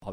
Har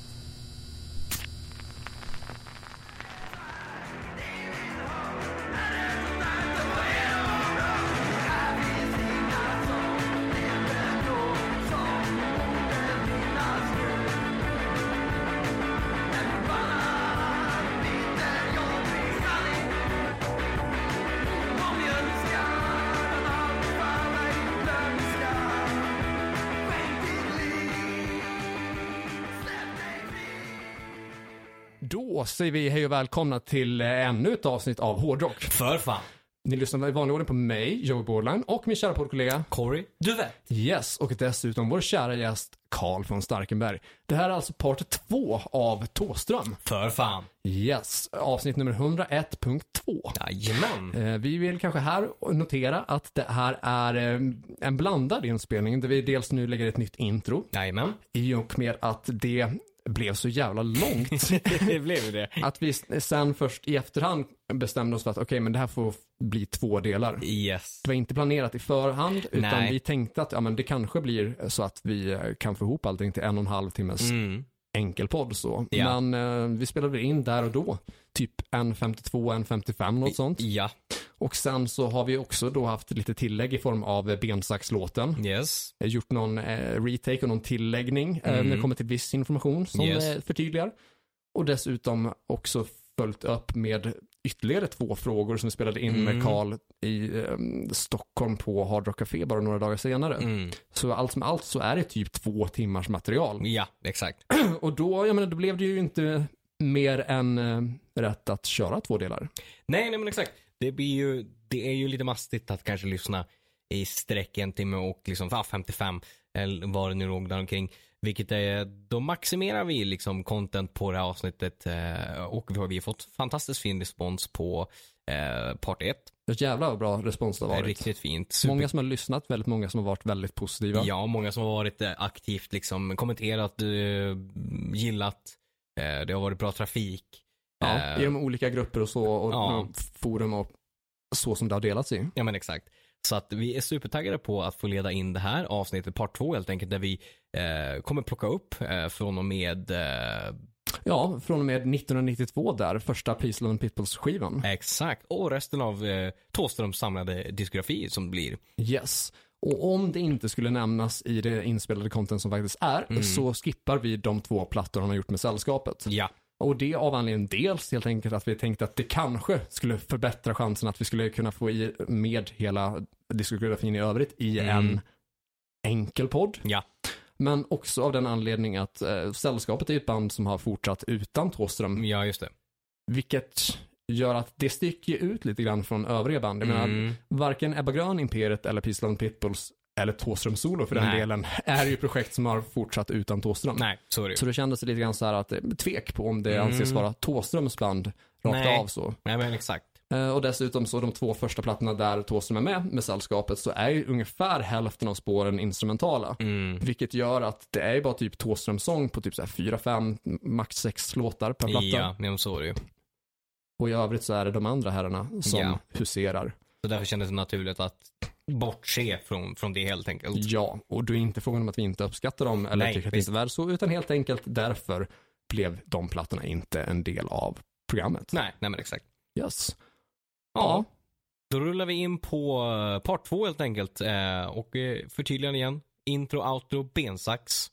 Då säger vi hej och välkomna till eh, ännu ett avsnitt av Hårdrock. För fan. Ni lyssnar i vanlig ordning på mig, Joey Borland, och min kära poddkollega Corey. Du vet. Yes, och dessutom vår kära gäst Karl från Starkenberg. Det här är alltså part två av Tåström. För fan. Yes, avsnitt nummer 101.2. Jajamän. Eh, Vi vill kanske här notera att det här är eh, en blandad inspelning där vi dels nu lägger ett nytt intro Jajamän. i och med att det blev så jävla långt. det blev ju det. Att vi s- sen först i efterhand bestämde oss för att okej, men det här får bli två delar. Det Yes. var inte planerat i förhand, utan Nej. vi tänkte att ja, men det kanske blir så att vi eh, kan få ihop allting till en och en halv timmes Mm. enkelpodd. Så. Ja. Men eh, vi spelade in där och då, typ 1.52, 1.55, något sånt. Ja. Och sen så har vi också då haft lite tillägg i form av eh, bensaxlåten. Yes. Eh, Gjort någon eh, retake och någon tilläggning eh, när det kommer till viss information som Mm. Yes. eh, förtydligar. Och dessutom också följt upp med ytterligare två frågor som vi spelade in Mm. med Karl i eh, Stockholm på Hard Rock Café bara några dagar senare. Mm. Så allt som allt så är det typ två timmars material. Ja, exakt. Och då, jag menar, då blev det ju inte mer än eh, rätt att köra två delar. nej, nej men exakt. Det blir ju, det är ju lite mastigt att kanske lyssna i sträck en timme och liksom va, 55 eller vad det nu låg där omkring. Vilket är, då maximerar vi liksom content på det här avsnittet eh, och vi har, vi har fått fantastiskt fin respons på eh, part 1. Jävlar vad bra respons det har varit. Riktigt fint. Många som har lyssnat, väldigt många som har varit väldigt positiva. Ja, många som har varit eh, aktivt liksom kommenterat, eh, gillat. Eh, Det har varit bra trafik. Ja, Eh, I de olika grupper och så och Ja. och forum och så som det har delats i. Ja men exakt. Så att vi är supertaggade på att få leda in det här avsnittet, part två helt enkelt, där vi eh, kommer plocka upp eh, från och med eh, Ja, från och med 1992 där, första Peace Love and Pitbulls skivan. exakt och resten av eh, Thåströms samlade diskografi som blir. Yes. Och om det inte skulle nämnas i det inspelade content som faktiskt är, så skippar vi de två plattor han har gjort med sällskapet. Ja, Och det av anledningen dels helt enkelt att vi tänkte att det kanske skulle förbättra chansen att vi skulle kunna få i med hela diskografin i övrigt i en enkel podd. ja, Men också av den anledning att eh, Sällskapet är ju ett band som har fortsatt utan Thåström, ja just det. vilket gör att det sticker ju ut lite grann från övriga band. Jag menar, Mm. varken Ebba Grön, Imperiet eller Pisland Pitbulls eller Thåström Solo för den Nej. delen är ju projekt som har fortsatt utan Thåström. Nej, så är det ju. Så det kändes lite grann så här att eh, tvek på om det Mm. anses vara Thåströms band rakt Nej. av så. Nej men exakt. Eh, Och dessutom så de två första plattorna där Thåström är med med sällskapet så är ju ungefär hälften av spåren instrumentala. Mm. Vilket gör att det är ju bara typ Thåströms sång på typ så här 4, 5, max 6 låtar per platta. Ja, men så är det ju. Och i övrigt så är det de andra herrarna som Ja. huserar. Så därför kändes det naturligt att bortse från, från det helt enkelt. Ja, och det är inte frågan om att vi inte uppskattar dem eller Nej, tycker att visst. det inte är så, utan helt enkelt därför blev de plattorna inte en del av programmet. Nej, nej men exakt. Yes. Ja, Ja. då rullar vi in på eh, part två helt enkelt. Eh, och eh, förtydligande igen. Intro, outro, bensax.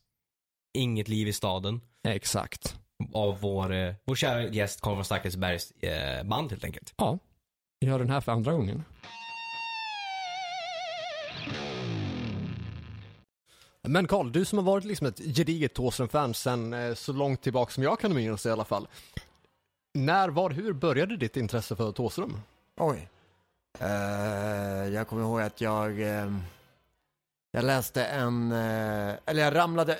Inget liv i staden. exakt. Av vår, eh, vår kära gäst Karl von Starkelsbergs eh, band helt enkelt. Ja, vi gör den här för andra gången. Men Karl, du som har varit liksom ett gediget Thåström-fan sen eh, så långt tillbaka som jag kan minnas i alla fall. När, var, hur började ditt intresse för Thåström? Oj. Eh, jag kommer ihåg att jag... ehm, jag läste en... eh, eller jag ramlade...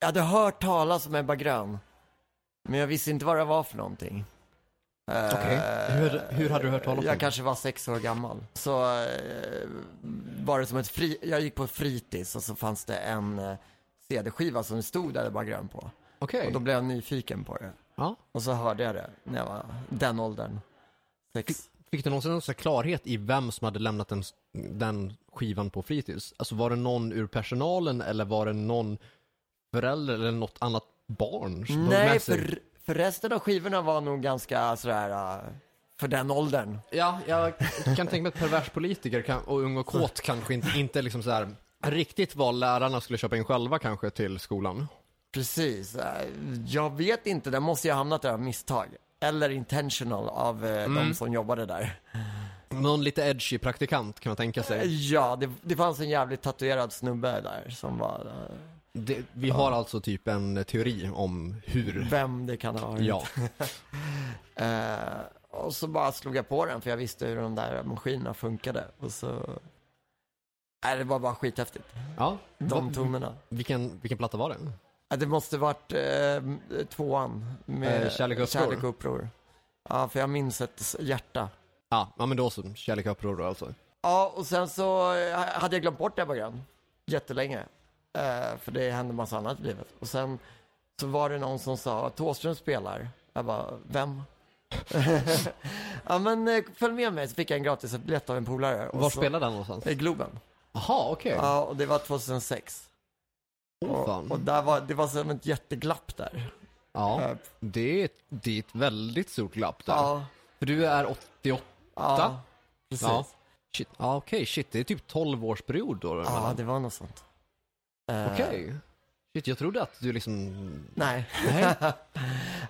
Jag hade hört talas om Ebba Grön. Men jag visste inte vad det var för någonting. Eh, Okej. Hur- hur hade du hört talas om Jag det? kanske var sex år gammal. Så eh, var det som ett fri... Jag gick på ett fritids och så fanns det en eh, CD-skiva som det stod där Ebba Grön på. Okej. Och då blev jag nyfiken på det. Ja. Och så hörde jag det när jag var den åldern. Sex. Fick du någonsin någon sån här klarhet i vem som hade lämnat den, den skivan på fritids? Alltså var det någon ur personalen eller var det någon förälder eller något annat barn? som tog Nej, med sig? för, för resten av skivorna var nog ganska sådär, äh, för den åldern. Ja, jag kan tänka mig att pervers politiker kan, och ung och kåt kanske inte, inte liksom så här riktigt vad lärarna skulle köpa in själva kanske till skolan. Precis. Äh, Jag vet inte, den måste ju ha hamnat där av misstag. Eller intentional av eh, Mm. de som jobbade där. Någon lite edgy praktikant kan man tänka sig. Ja, det, det fanns en jävligt tatuerad snubbe där som var, eh, Det, vi har alltså typ en teori om hur. vem det kan ha varit. Ja, Eh, och så bara slog jag på den för jag visste hur de där maskinerna funkade. Och så... Nej, det var bara skithäftigt. ja. De tonerna. Vilken, vilken platta var det? Ja, det måste varit eh, tvåan med Eh, Kärlek och uppror. och uppror. Ja, för jag minns ett s- hjärta. Ja, ja men då så. Kärlek och uppror då alltså. Ja, och sen så eh, hade jag glömt bort det här programmet jättelänge. Eh, för det hände massa annat i livet. Och sen så var det någon som sa att Thåström spelar. Jag bara, vem? ja men eh, följ med mig så fick jag en gratis biljett av en polare. Och Var så- spelade den någonstans? Eh, Globen. Jaha, okej. Ja, och det var 2006. Åh, fan. Och, och där var, det var som ett jätteglapp där. Ja, det är, ett, det är ett väldigt stort glapp där. Ja, För du är 88. ja, precis. Ja. Shit. Ja, okej, shit. Det är typ 12 års period då. Ja, emellan. det var något sånt. Eh, Okej. Shit, jag trodde att du liksom... Nej. Nej.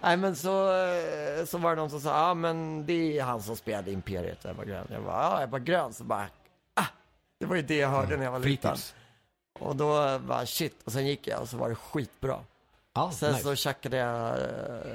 Nej men så, eh, så var det någon som sa, ja ah, men det är han som spelade Imperiet, Ebba Grön. Jag bara, ja Ebba Grön, så bara, ah! Det var ju det jag hörde när jag var liten. Fritids. Och då eh, bara shit, och sen gick jag och så var det skitbra. Ja, Sen nice. så tjackade jag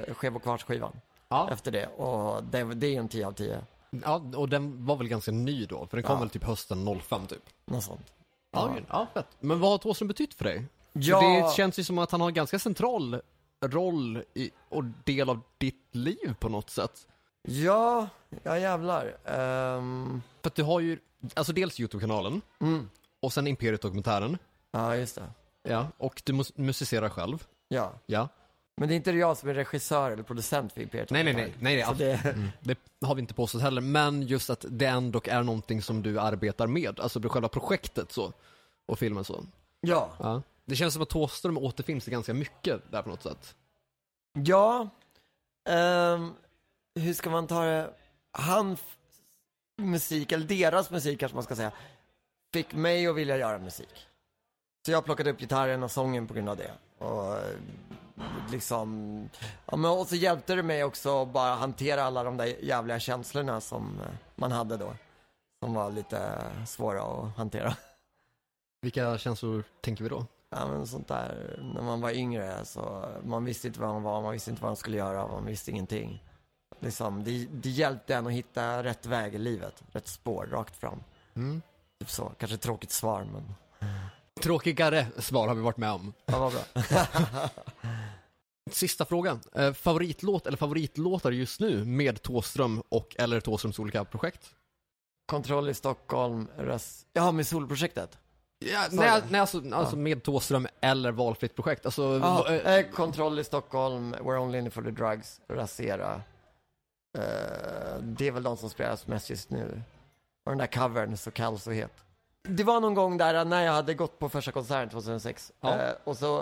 eh, Skev och kvarts-skivan ja, efter det och det, det är en 10 av 10, ja, och den var väl ganska ny då? För den kom Ja. väl typ hösten 05 typ? något sånt. Ja, ja. fett. Men vad har Thåström betytt för dig? Ja. För det känns ju som att han har en ganska central roll i, och del av ditt liv på något sätt. Ja, ja jävlar. Ehm, För att du har ju, alltså dels YouTube-kanalen mm. och sen Imperiet-dokumentären. Ja, just det. Ja. Och du mus- musicerar själv. Ja. Ja. Men det är inte jag som är regissör eller producent för Imperiet. Nej, nej, nej. Mm. nej, nej Så absolut. det, Det har vi inte påstått heller, men just att det ändå är någonting som du arbetar med, alltså själva projektet så, och filmen så. ja. Ja. Det känns som att Thåström återfinns i ganska mycket där på något sätt. Ja, ehm, hur ska man ta det? Han f- musik, eller deras musik kanske man ska säga, fick mig att vilja göra musik. Så jag plockade upp gitarren och sången på grund av det. Och eh, liksom, ja, men och så hjälpte det mig också att bara hantera alla de där jävliga känslorna som eh, man hade då. Som var lite svåra att hantera. Vilka känslor tänker vi då? Ja men sånt där, när man var yngre så, man visste inte vad man var, man visste inte vad man skulle göra, man visste ingenting. Liksom, det, det hjälpte en att hitta rätt väg i livet, rätt spår, rakt fram. Mm. Typ så, kanske ett tråkigt svar men, Tråkigare svar har vi varit med om. ja vad bra. Sista frågan. Eh, favoritlåt eller favoritlåtar just nu med Thåström och eller Thåströms olika projekt? Kontroll i Stockholm, röst... Ja, med solprojektet? Ja, Sorry. nej, nej, alltså, alltså med Thåström eller valfritt projekt. Alltså, Ja, eh, eh, kontroll i Stockholm, We're only in it for the drugs, Rasera. Eh, det är väl de som spelas mest just nu. Och den där covern, Så kall så het. Det var någon gång där eh, när jag hade gått på första konserten 2006. Ja. Eh, och så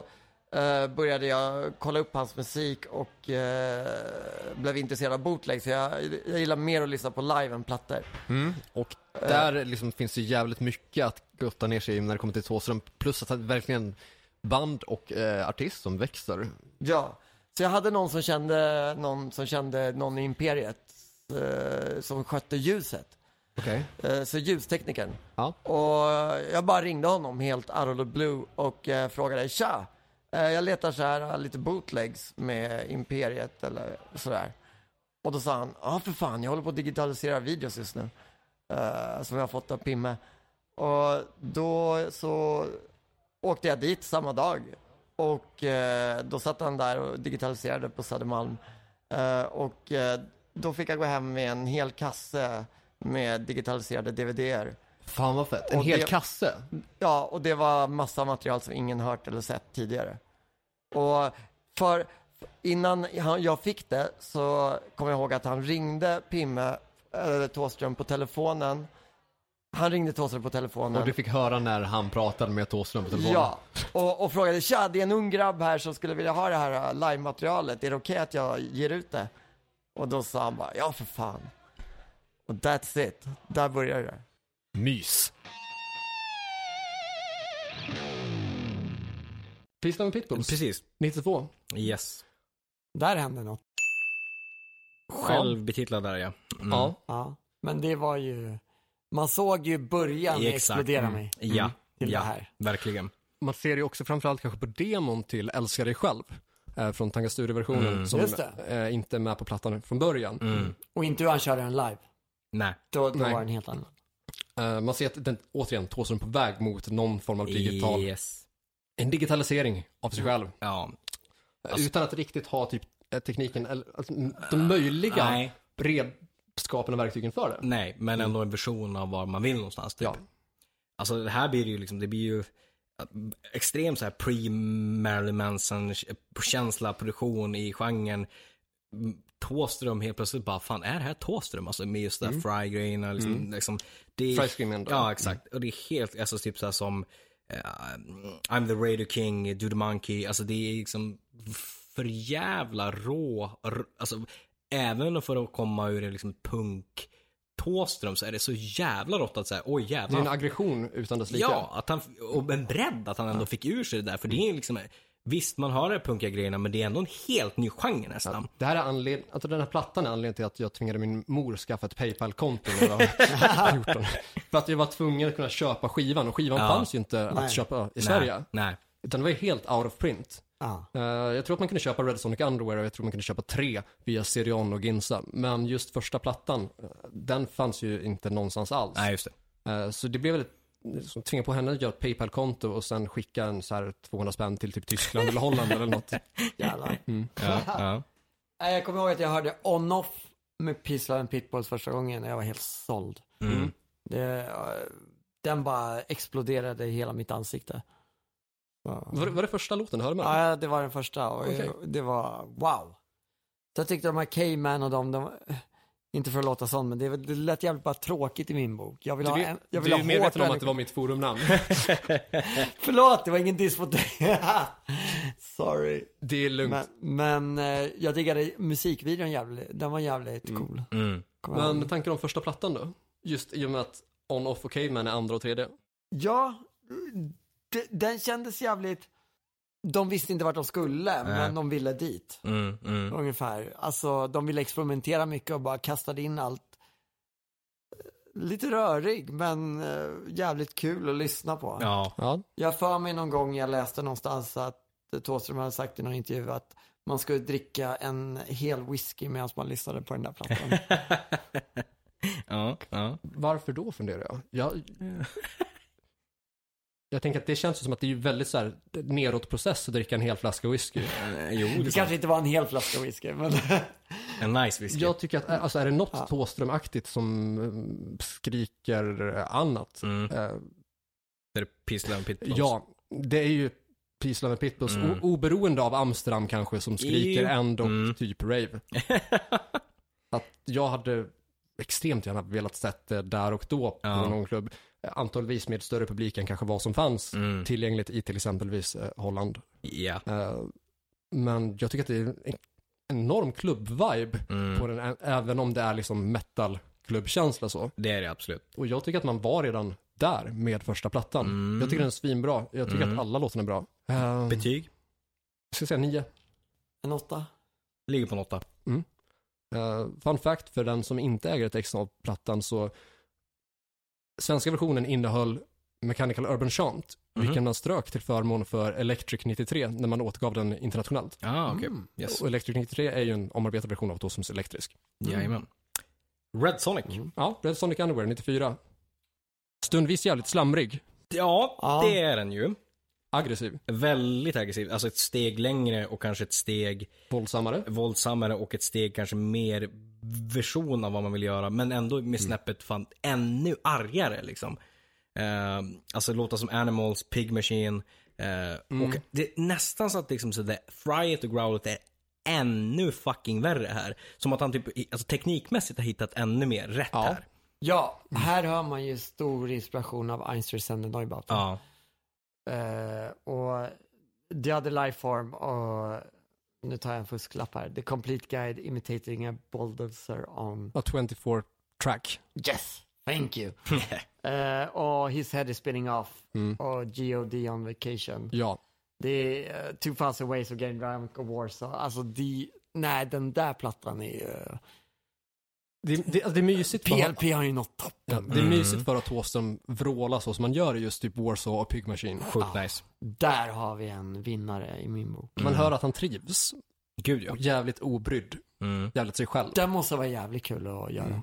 eh, började jag kolla upp hans musik och eh, blev intresserad av bootleg. Så jag, jag gillar mer att lyssna på live än plattor. Och där liksom finns det jävligt mycket att gotta ner sig i när det kommer till Thåström. Plus att han verkligen band och eh, artist som växer. Ja, så jag hade någon som kände någon, som kände någon i Imperiet eh, som skötte ljuset. Okej. Eh, Så ljusteknikern. Ja. Och jag bara ringde honom helt out of the blue och eh, frågade tja, eh, jag letar så här eh, lite bootlegs med Imperiet eller sådär. Och då sa han, ja för fan jag håller på att digitalisera videos just nu. eh, Som jag har fått av Pimme. Och då så åkte jag dit samma dag. Och eh, då satt han där och digitaliserade på Södermalm. Eh, och eh, då fick jag gå hem med en hel kasse med digitaliserade DVDer. Fan vad fett. En Och hel det- kasse. Ja, och det var massa material som ingen hört eller sett tidigare. Och för innan han- jag fick det så kommer jag ihåg att han ringde Pimme eh, Thåström på telefonen. Han ringde Thåström på telefonen. Och du fick höra när han pratade med Thåström på telefonen? Ja, och, och frågade tja, det är en ung grabb här som skulle vilja ha det här eh, live-materialet, är det okej att jag ger ut det? Och då sa han bara, ja för fan. Och that's it, där börjar det. Mys. Pistol med Pitbulls, Precis. 92. Yes. Där hände något. Självbetitlad där ja. Mm. Ja. Ja. Men det var ju, man såg ju början Exakt. explodera Mm. mig Ja. till Ja. det här. Verkligen. Man ser ju också framförallt kanske på demon till Älska dig själv. eh, Från Tangasturi-versionen Mm. som Just det. eh, inte är med på plattan från början. Mm. Och inte hur han körde den live. Nej. Då, då Nej. var den helt annan. Eh, Man ser att den, återigen Thåström på väg mot någon form av digital, Yes. en digitalisering av sig själv. Ja. Eh, Alltså- Utan att riktigt ha typ eh, tekniken, eller alltså, m- de möjliga Nej. redskapen och verktygen för det. Nej, men ändå en version av var man vill någonstans. Typ. Ja. Alltså det här blir det ju liksom, det blir ju extremt så här pre-Marilyn Manson-känsla, produktion i genren. Mm, Thåström helt plötsligt bara, fan är det här Thåström? Alltså med just det här fry-grejerna. Liksom, liksom, det är- Fry Screaming då. Ja, exakt. Och det är helt, alltså typ så här som eh, I'm the Radio King, Do the Monkey. Alltså det är liksom för jävla rå, r- alltså även för att komma ur en liksom punk Thåström så är det så jävla rått att säga, oj Det är en jävlar. aggression utan dess like. Ja, att han, och en bredd att han ändå fick ur sig det där. För det är liksom, visst man har de här punkiga grejerna men det är ändå en helt ny genre nästan. Det här är anled... alltså den här plattan är anledningen till att jag tvingade min mor skaffa ett Paypal-konto när jag var 14. För att jag var tvungen att kunna köpa skivan och skivan Ja. fanns ju inte Nej. att köpa i Sverige. Nej. Utan det var ju helt out of print. Ja. Eh, jag tror att man kunde köpa Red Sonic Underwear och jag tror man kunde köpa tre via Sirion och Ginza. Men just första plattan, eh, den fanns ju inte någonstans alls. Nej, just det. Eh, Så det blev väl ett- som tvinga på henne att göra ett Paypal-konto och sen skicka en så här 200 spänn till typ Tyskland eller Holland eller något. Jävlar. Ja, ja. Nej, Jag kommer ihåg att jag hörde on-off med Peace Love and Pitbulls första gången och jag var helt såld. Mm. Det, eh, den bara exploderade i hela mitt ansikte. Ja. Var det, var det första låten du hörde med? Ja, det var den första och Okej. det var wow. Så jag tyckte de här K-Man och de, de, inte för att låta sån, men det, det lät jävligt bara tråkigt i min bok. Jag vill ha, en, jag du vill är ha hårt medveten om att människa- det var mitt forumnamn. Förlåt, det var ingen diss mot dig. Sorry. Det är lugnt. Men, men eh, jag diggade musikvideon jävligt, den var jävligt cool. Mm. Kommer jag Men, ihåg. med tanken om första plattan då? Just i och med att On-Off och Caveman är andra och tredje. Ja, de, den kändes jävligt, de visste inte vart de skulle, men de ville dit. Mm. Mm. Ungefär. Alltså de ville experimentera mycket och bara kastade in allt. eh, Lite rörig men eh, jävligt kul att lyssna på. Ja. Ja. Jag för mig någon gång jag läste någonstans att Thåström hade sagt i någon intervju att man skulle dricka en hel whisky medan man lyssnade på den där plattan. ja, ja. Varför då funderar jag? Jag, jag tänker att det känns ju som att det är ju väldigt så här nedåtprocess att dricka en hel flaska whisky. Eh, Jo, det är Det sant. kanske inte var en hel flaska whisky men En nice whisky. Jag tycker att, alltså är det något Ja. Thåström-aktigt som mm, skriker eh, annat? Mm. Eh, Det är Piss Love Pitbulls. Ja, det är ju Peace, Love and Pitbulls, Mm. o- oberoende av Amsterdam kanske, som skriker Jo. ändå Mm. typ rave. att jag hade extremt gärna velat sett det där och då på Ja. någon klubb. Eh, Antagligen med större publik än kanske vad som fanns Mm. tillgängligt i till exempelvis eh, Holland. Ja. Eh, Men jag tycker att det är en enorm klubb-vibe Mm. på den, ä- även om det är liksom metal-klubbkänsla så. Det är det absolut. Och jag tycker att man var redan där med första plattan. Mm. Jag tycker den är svinbra. Jag tycker Mm. att alla låtarna är bra. Uh, jag Betyg? ska säga nio. en åtta. Ligger på en åtta. Eh, fun fact för den som inte äger ett ex av plattan så svenska versionen innehöll Mechanical Urban Chant, Mhm. vilken man strök till förmån för Electric 93 när man åtgav den internationellt. Ah, okej. Yes. Mm. Och mm. Electric 93 är ju en omarbetad version av Thåströms Elektrisk. Jajamän. Red Sonic. Ja, Red Sonic Underwear 94. Stundvis jävligt slamrig, Ja, Ja. det är den ju. aggressiv, Väldigt aggressiv. Alltså ett steg längre och kanske ett steg våldsammare. våldsammare och ett steg kanske mer version av vad man vill göra. Men ändå Mm. med snäppet fan ännu argare liksom. Eh, alltså låtar som Animals, Mm. Pig Machine. eh, Och det är nästan så att liksom så där fryet och growlet är ännu fucking värre här. Som att han typ, alltså teknikmässigt har hittat ännu mer rätt Ja. här. Ja, här hör man ju stor inspiration av Einstein Sender Neubauten. Ja. Eh, och The Other Lifeform och nu tar jag en fusklapp här. The Complete Guide Imitating a Bulldozer on... Ja, 24 track. Yes! Thank you! Eh, och His Head is Spinning Off Mm. och G.O.D. on Vacation. Ja, Det är uh, 2000 Ways of Getting Drunk och Warsaw. Alltså, de, nej, den där plattan är ju... det, det, alltså, det är mysigt för PLP har ju nått toppen. Ja, det är mysigt för att Thåström vrålar så som man gör i just typ Warsaw och Pig Machine. Sjukt nice. Där har vi en vinnare i min bok. Man hör att han trivs, Gud ja. och jävligt obrydd, Mm. jävligt sig själv. Den måste vara jävligt kul att göra.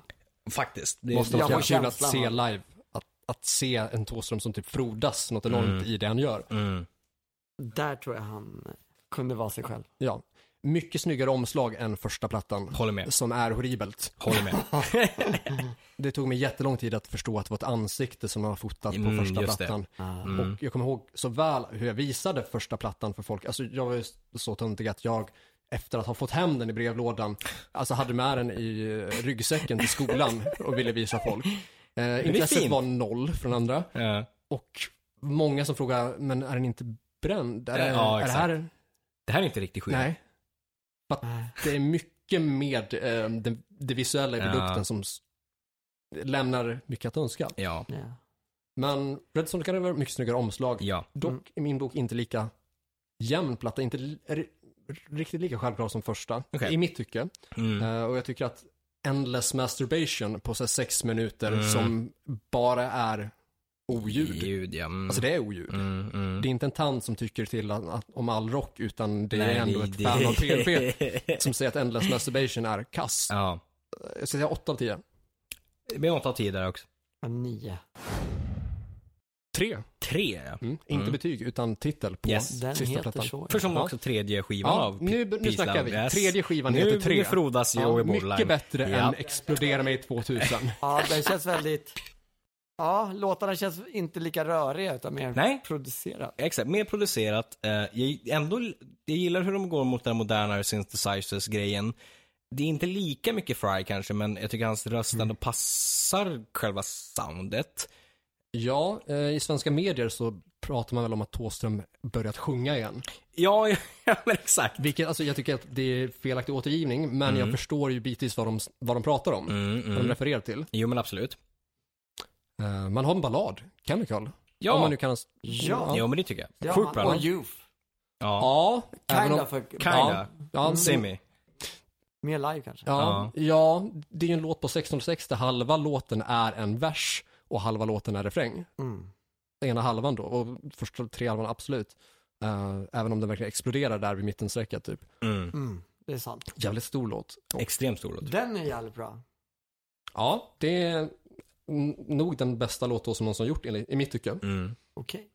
Faktiskt. Det, Måste jag vara får jävligt kul att känslan se av- live, att, att se en Thåström som typ frodas något enormt i det han gör. Mm. Där tror jag han kunde vara sig själv. Ja. Mycket snyggare omslag än första plattan. Håller med. Som är horribelt. Håller med. Det tog mig jättelång tid att förstå att det var ett ansikte som man har fotat på Mm, första just det. plattan. Mm. Och jag kommer ihåg så väl hur jag visade första plattan för folk. Alltså jag var ju så töntig att jag efter att ha fått hem den i brevlådan, alltså hade med den i eh, ryggsäcken till skolan och ville visa folk. Eh, intresset fint. var noll från andra Ja. och många som frågade, men är den inte bränd? Är, det- Ja, är det exakt. här? Det här är inte riktigt skit. Nej. För att det är mycket med eh, det, det visuella i Ja. produkten som s- lämnar mycket att önska. Ja. Ja. Men Red Sonic River, mycket snyggare omslag. Ja. Dock i min bok inte lika jämn platta, inte li- r- riktigt lika självklar som första, Okej. i mitt tycke. Mm. Eh, och jag tycker att Endless Masturbation på så här, sex minuter som bara är oljud. Ljud Mm. ja. Mm. Alltså det är oljud. mm, mm. Det är inte en tant som tycker till att, att, om all rock utan det Nej, är ändå det- ett det- fan av PLP som säger att Endless Masturbation är kass. Ja. Jag ska säga 8 av 10. Det blir 8 av 10 där också. En nio. 3. 3 ja. Mm. Inte betyg utan titel på Yes. Den sista heter plattan. så. För som Ja. också tredje skivan Ja, av P- nu, nu Peace snackar vi. Love. Yes. Tredje skivan nu, heter 3. Nu frodas Joey Ja, Borderline. mycket bättre Ja. än Explodera mig 2000. Ja, den känns väldigt... Ja, låtarna känns inte lika röriga utan mer Nej. producerat. Exakt, mer producerat. Eh, jag, ändå, jag gillar hur de går mot den modernare synthesizers-grejen. Det är inte lika mycket Fry kanske, men jag tycker hans röst Mm. ändå passar själva soundet. ja, eh, i svenska medier så pratar man väl om att Thåström börjat sjunga igen. Ja, ja men exakt. Vilket, alltså jag tycker att det är felaktig återgivning, men jag förstår ju bitvis vad de, vad de pratar om. Mm, Vad de mm. refererar till. Jo, men absolut. Eh, man har en ballad, Chemical. Ja. Om man nu kan... hans- Ja. Jo, men det tycker jag. Ja, Sjukt bra. Och låt. Youth. Ja. Ja, även om, Kinda Mm. för... Kinda. ja, ja, Semi. Mer live kanske. ja, ja, det är ju en låt på 1606 där halva låten är en vers och halva låten är refräng. Mm. ena halvan då och första tre halvan absolut. Eh, även om den verkligen exploderar där vid mittenstrecket typ. Mm. Mm. Det är sant. Jävligt stor låt. Och- Extremt stor låt. Den är jävligt bra. Ja, det är n- nog den bästa låt då som någon som gjort enligt, i mitt tycke. Mm. Okej.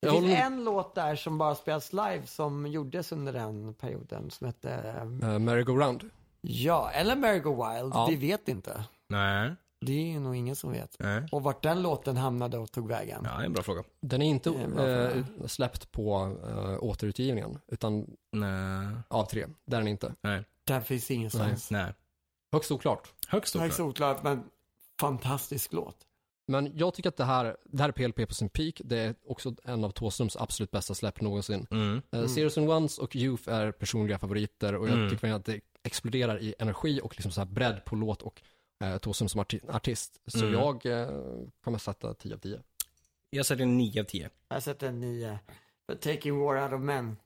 Jag Det finns håller med. en låt där som bara spelas live som gjordes under den perioden som hette, eh, Eh, Merry Go Round. ja, eller Merry-Go-Wild. Ja. Vi vet inte. Nej. Det är ju nog ingen som vet. Nej. Och vart den låten hamnade och tog vägen. Ja, det är en bra fråga. Den är inte Det är en bra fråga. eh, ut- släppt på eh, återutgivningen, utan Nej. av tre. Där är den inte. Nej. Den finns ingenstans. Nej. Högst oklart. Högst Det är oklart. så oklart, men fantastisk låt. Men jag tycker att det här, det här är PLP på sin peak. Det är också en av Thåströms absolut bästa släpp någonsin. Mm. Eh, Zeros and Ones och Youth är personliga favoriter och jag Mm. tycker verkligen att det exploderar i energi och liksom så här bredd på låt och eh, Thåström som arti- artist. Så Mm. jag eh, kommer sätta 10 av 10. Jag sätter en 9 av 10. Jag sätter en nio. eh, För Taking War Out of Men.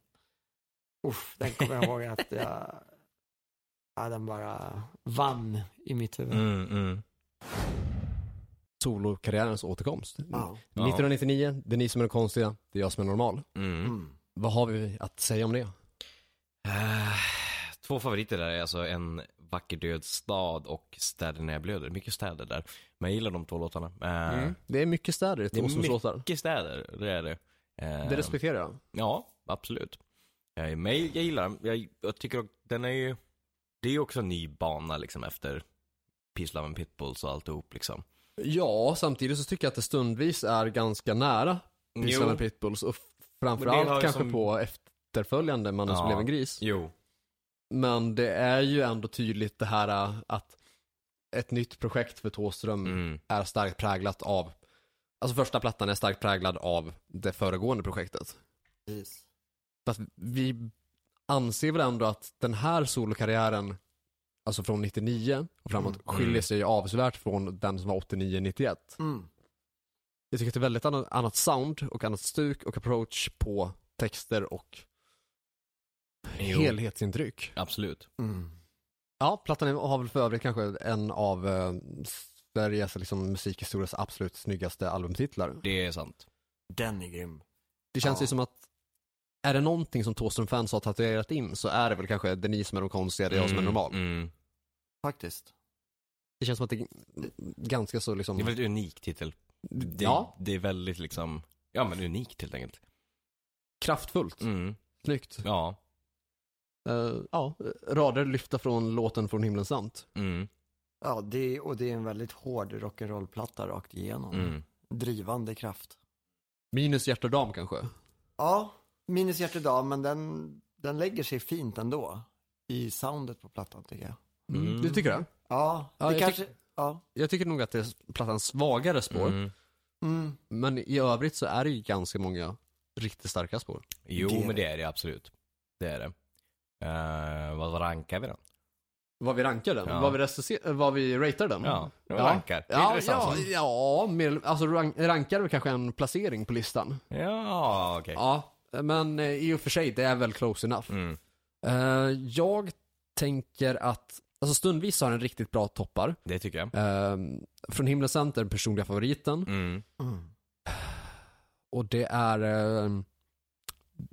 Uff, den kommer jag ihåg att jag... Ja, den bara vann i mitt huvud. Mm, mm. Solokarriärens återkomst. Wow. 1999, det är ni som är de konstiga, det är jag som är normal. Mm. Mm. Vad har vi att säga om det? Ah, Två favoriter där är alltså En vacker död stad och Städer när jag blöder. Mycket städer där. Men jag gillar de två låtarna. Eh, Mm. Det är mycket städer i Det är Thåströms låtar. Mycket städer, det är det. Eh, Det respekterar jag. Ja, absolut. Eh, Men jag jag gillar den. jag, jag tycker att den är ju, det är ju också en ny bana liksom efter Peace, Love and Pitbulls och alltihop liksom. Ja, samtidigt så tycker jag att det stundvis är ganska nära Jo. Pissarna Pitbulls och Men det har framförallt ju kanske som- på efterföljande Mannen som Ja. blev en gris. Jo. Men det är ju ändå tydligt det här äh, att ett nytt projekt för Thåström Mm. är starkt präglat av, alltså första plattan är starkt präglad av det föregående projektet. Precis. Fast vi anser väl ändå att den här solokarriären, alltså från 99 och framåt, Mm. skiljer sig avsevärt från den som var 89-91. Mm. Jag tycker att det är väldigt annat, annat sound och annat stuk och approach på texter och Jo. helhetsintryck. Absolut. Mm. Ja, plattan är- har väl för övrigt kanske en av eh, Sveriges liksom, musikhistorias absolut snyggaste albumtitlar. Det är sant. Den är grym. Det känns Ja. ju som att är det någonting som Thåström-fans har tatuerat in så är det väl kanske det är ni som är de konstiga, det är jag som är normal. Mm. Faktiskt. Det känns som att det är ganska så liksom... Det är en väldigt unik titel. Det, Ja, det är väldigt liksom, ja men unikt helt enkelt. kraftfullt. Mm. Snyggt. Ja. Eh, ja, rader lyfta från låten Från himlen samt. Mm. Ja, det, och det är en väldigt hård rock'n'roll-platta rakt igenom. Mm. Drivande kraft. Minus hjärt och dam kanske. Ja, minus hjärtedag, men den, den lägger sig fint ändå. I soundet på plattan tycker jag. Mm. Du tycker det? Ja, Ja, det jag kanske... Ja. Jag tycker nog att det är plattans svagare spår. Mm. Mm. Men i övrigt så är det ju ganska många riktigt starka spår. Jo Det är men det. det är det absolut. Det är det. Eh, vad rankar vi den? Mm. Vad vi rankar den? Ja. Vad, vi recenser- eh, vad vi ratear den? Ja, det var Ja. rankar. Det är Ja, intressant ja, sak. ja mer, alltså rank, rankar vi kanske en placering på listan. Ja, okej. Ja, men eh, i och för sig, det är väl close enough. Mm. Eh, jag tänker att, alltså stundvis har den riktigt bra toppar. Det tycker jag. Eh, från Himlen Center, den personliga favoriten. Mm. Och det är, eh,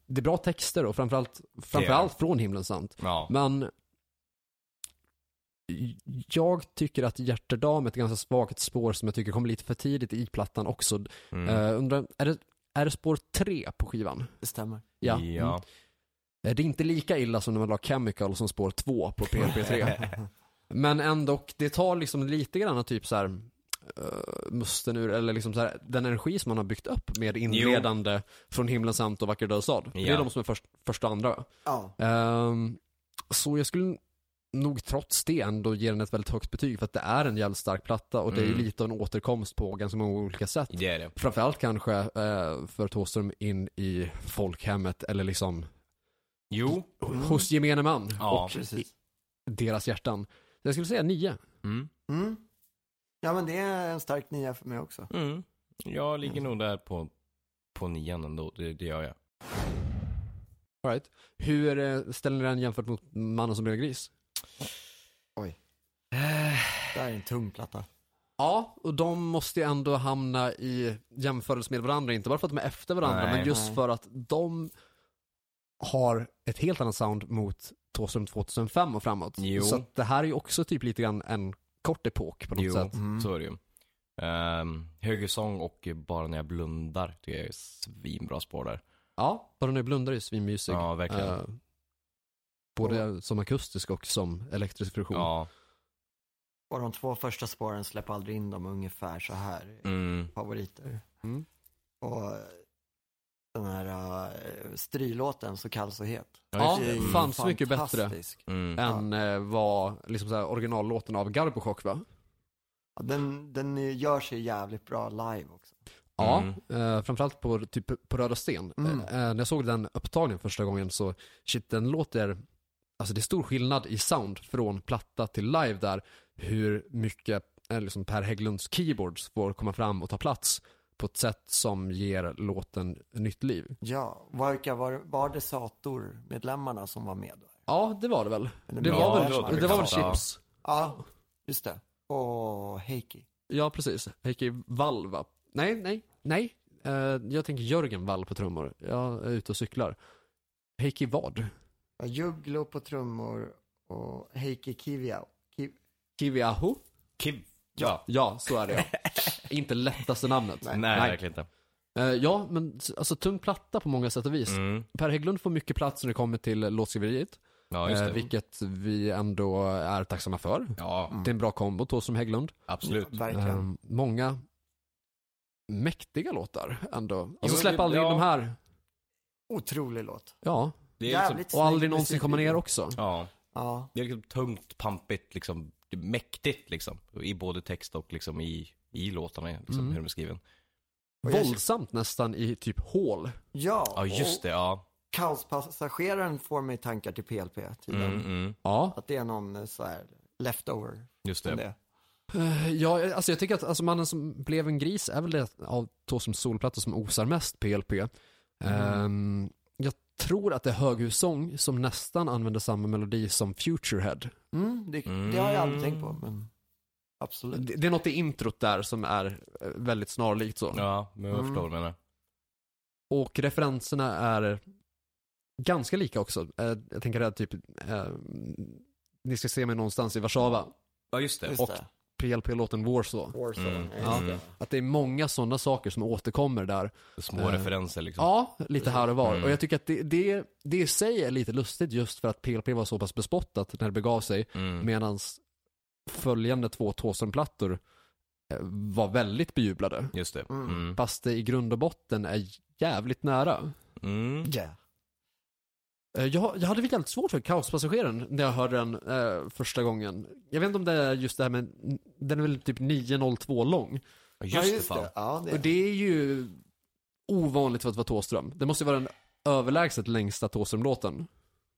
det är bra texter och framförallt, framförallt från Himlen Sant. Ja. Men jag tycker att Hjärtedam är ett ganska svagt spår som jag tycker kommer lite för tidigt i plattan också. Mm. Eh, undrar, är det, är det spår tre på skivan? Det stämmer. Ja. ja. Mm. Eh, Det är inte lika illa som när man la Chemical som spår två på PP3. Men ändå, det tar liksom lite grann typ så här eh, musten ur, eller liksom så här, den energi som man har byggt upp med inledande från himlen samt och vacker död stad. Det Ja. är de som är först, första och andra. Ja. Ehm, så jag skulle nog trots det ändå ge den ett väldigt högt betyg för att det är en jävligt stark platta och det är ju Mm. lite av en återkomst på ganska många olika sätt. Det är det. Framförallt kanske eh, för Thåström in i folkhemmet eller liksom Jo. hos gemene man Mm. Ja. och Mm. Precis. deras hjärtan. Så Jag skulle säga nio. Mm. Mm. Ja, men det är en stark nia för mig också. Mm. Jag ligger nog där på, på nian ändå. Det, det gör jag. All right. Hur eh, ställer ni den jämfört mot Mannen som blev gris? Det här är en tung platta. Ja, och de måste ju ändå hamna i jämförelse med varandra, inte bara för att de är efter varandra, Nej. men just Nej. för att de har ett helt annat sound mot Thåström 2005 och framåt. Jo. Så att det här är ju också typ lite grann en kort epok på något jo, sätt. Mm. så är det ju. Um, Högersång och Bara när jag blundar tycker jag är svinbra spår där. Ja, Bara nu blundar är ju svinmysig. Ja, verkligen. Eh, både som akustisk och som elektrisk produktion. Ja. Och de två första spåren släpp aldrig in dem ungefär så här. Mm. Favoriter. Mm. Och den här uh, strilåten, Så kall så het. Ja, just det. ju fan så mycket bättre. fantastisk. Mm. än Mm. eh, vad liksom så här, originallåten av Garbochock va? Ja, Den, den gör sig jävligt bra live också. Ja, Mm. eh, framförallt på, typ, på Röda Sten. Mm. Eh, när jag såg den upptagningen första gången så, shit den låter, alltså det är stor skillnad i sound från platta till live där, hur mycket eh, liksom Per Hägglunds keyboards får komma fram och ta plats på ett sätt som ger låten nytt liv. Ja, vilka var, var det Sator-medlemmarna som var med? Då? Ja, det var det väl. Eller Det med var i det låter väl, Persmark? det var väl bekant, Chips. Ja, just det. Och Heikki. Ja, precis. Heikki Wall va? Nej, nej, nej. Eh, jag tänker Jörgen Wall på trummor. Jag är ute och cyklar. Heikki vad? Ja, Jugglo på trummor och Heikki Kivia. Kiv... Kiviaho? Kim. Ja. Ja, så är det ja. Inte lättaste namnet. Nej, verkligen inte. Eh, ja, men s- alltså tung platta på många sätt och vis. Mm. Per Hägglund får mycket plats när det kommer till låtskriveriet. Ja, just eh, det. vilket vi ändå är tacksamma för. Ja, Det är en bra kombo, Thåström Hägglund. absolut. Ehm. Verkligen. Eh, många mäktiga låtar ändå. Alltså men släpp det- aldrig ja. in de här. Otrolig låt. Ja, Det är liksom, Jävligt och aldrig snygg någonsin komma ner musikvideo. också. ja. Ja. Det är liksom tungt, pampigt, liksom, mäktigt liksom. I både text och liksom i, i låtarna, liksom, Mm. hur de är skriven. Och jag- Våldsamt nästan i typ hål. Ja, Ja, just och det. Ja. Kaospassageraren får mig tankar till PLP tydligen. Mm, mm, Ja. Att det är någon eh, så här leftover. just från det. det. Eh, ja, alltså jag tycker att alltså, Mannen som blev en gris är väl det av Thåströms solplatta som osar mest PLP. Ehm, jag tror att det är Höghussång som nästan använder samma melodi som Futurehead. Mm, det, det har jag aldrig tänkt på, men absolut. Det, det är något i introt där som är eh, väldigt snarlikt så. Ja, men jag förstår vad du menar. Och referenserna är ganska lika också. Eh, jag tänker att typ, eh, ni ska se mig någonstans i Warszawa. Ja, just det. Just Och, det. PLP-låten Warsaw. Warzone. Mm. ja, just Ja. det. Att det är många sådana saker som återkommer där. små Eh, referenser liksom. Ja, lite här och var. Mm. Och jag tycker att det, det, det i sig är lite lustigt just för att PLP var så pass bespottat när det begav sig. Mm. Medan följande två Thåström-plattor eh, var väldigt bejublade. Just det. Mm. Mm. Fast det i grund och botten är jävligt nära. Mm. Yeah. Eh, Jag, jag hade väl jävligt svårt för Kaospassageraren när jag hörde den eh, första gången. Jag vet inte om det är just det här med, den är väl typ 9.02 lång. Ja, Ja, Just det, fan. Ja, det. Och det är ju ovanligt för att vara Thåström. Det måste ju vara den överlägset längsta Thåström-låten.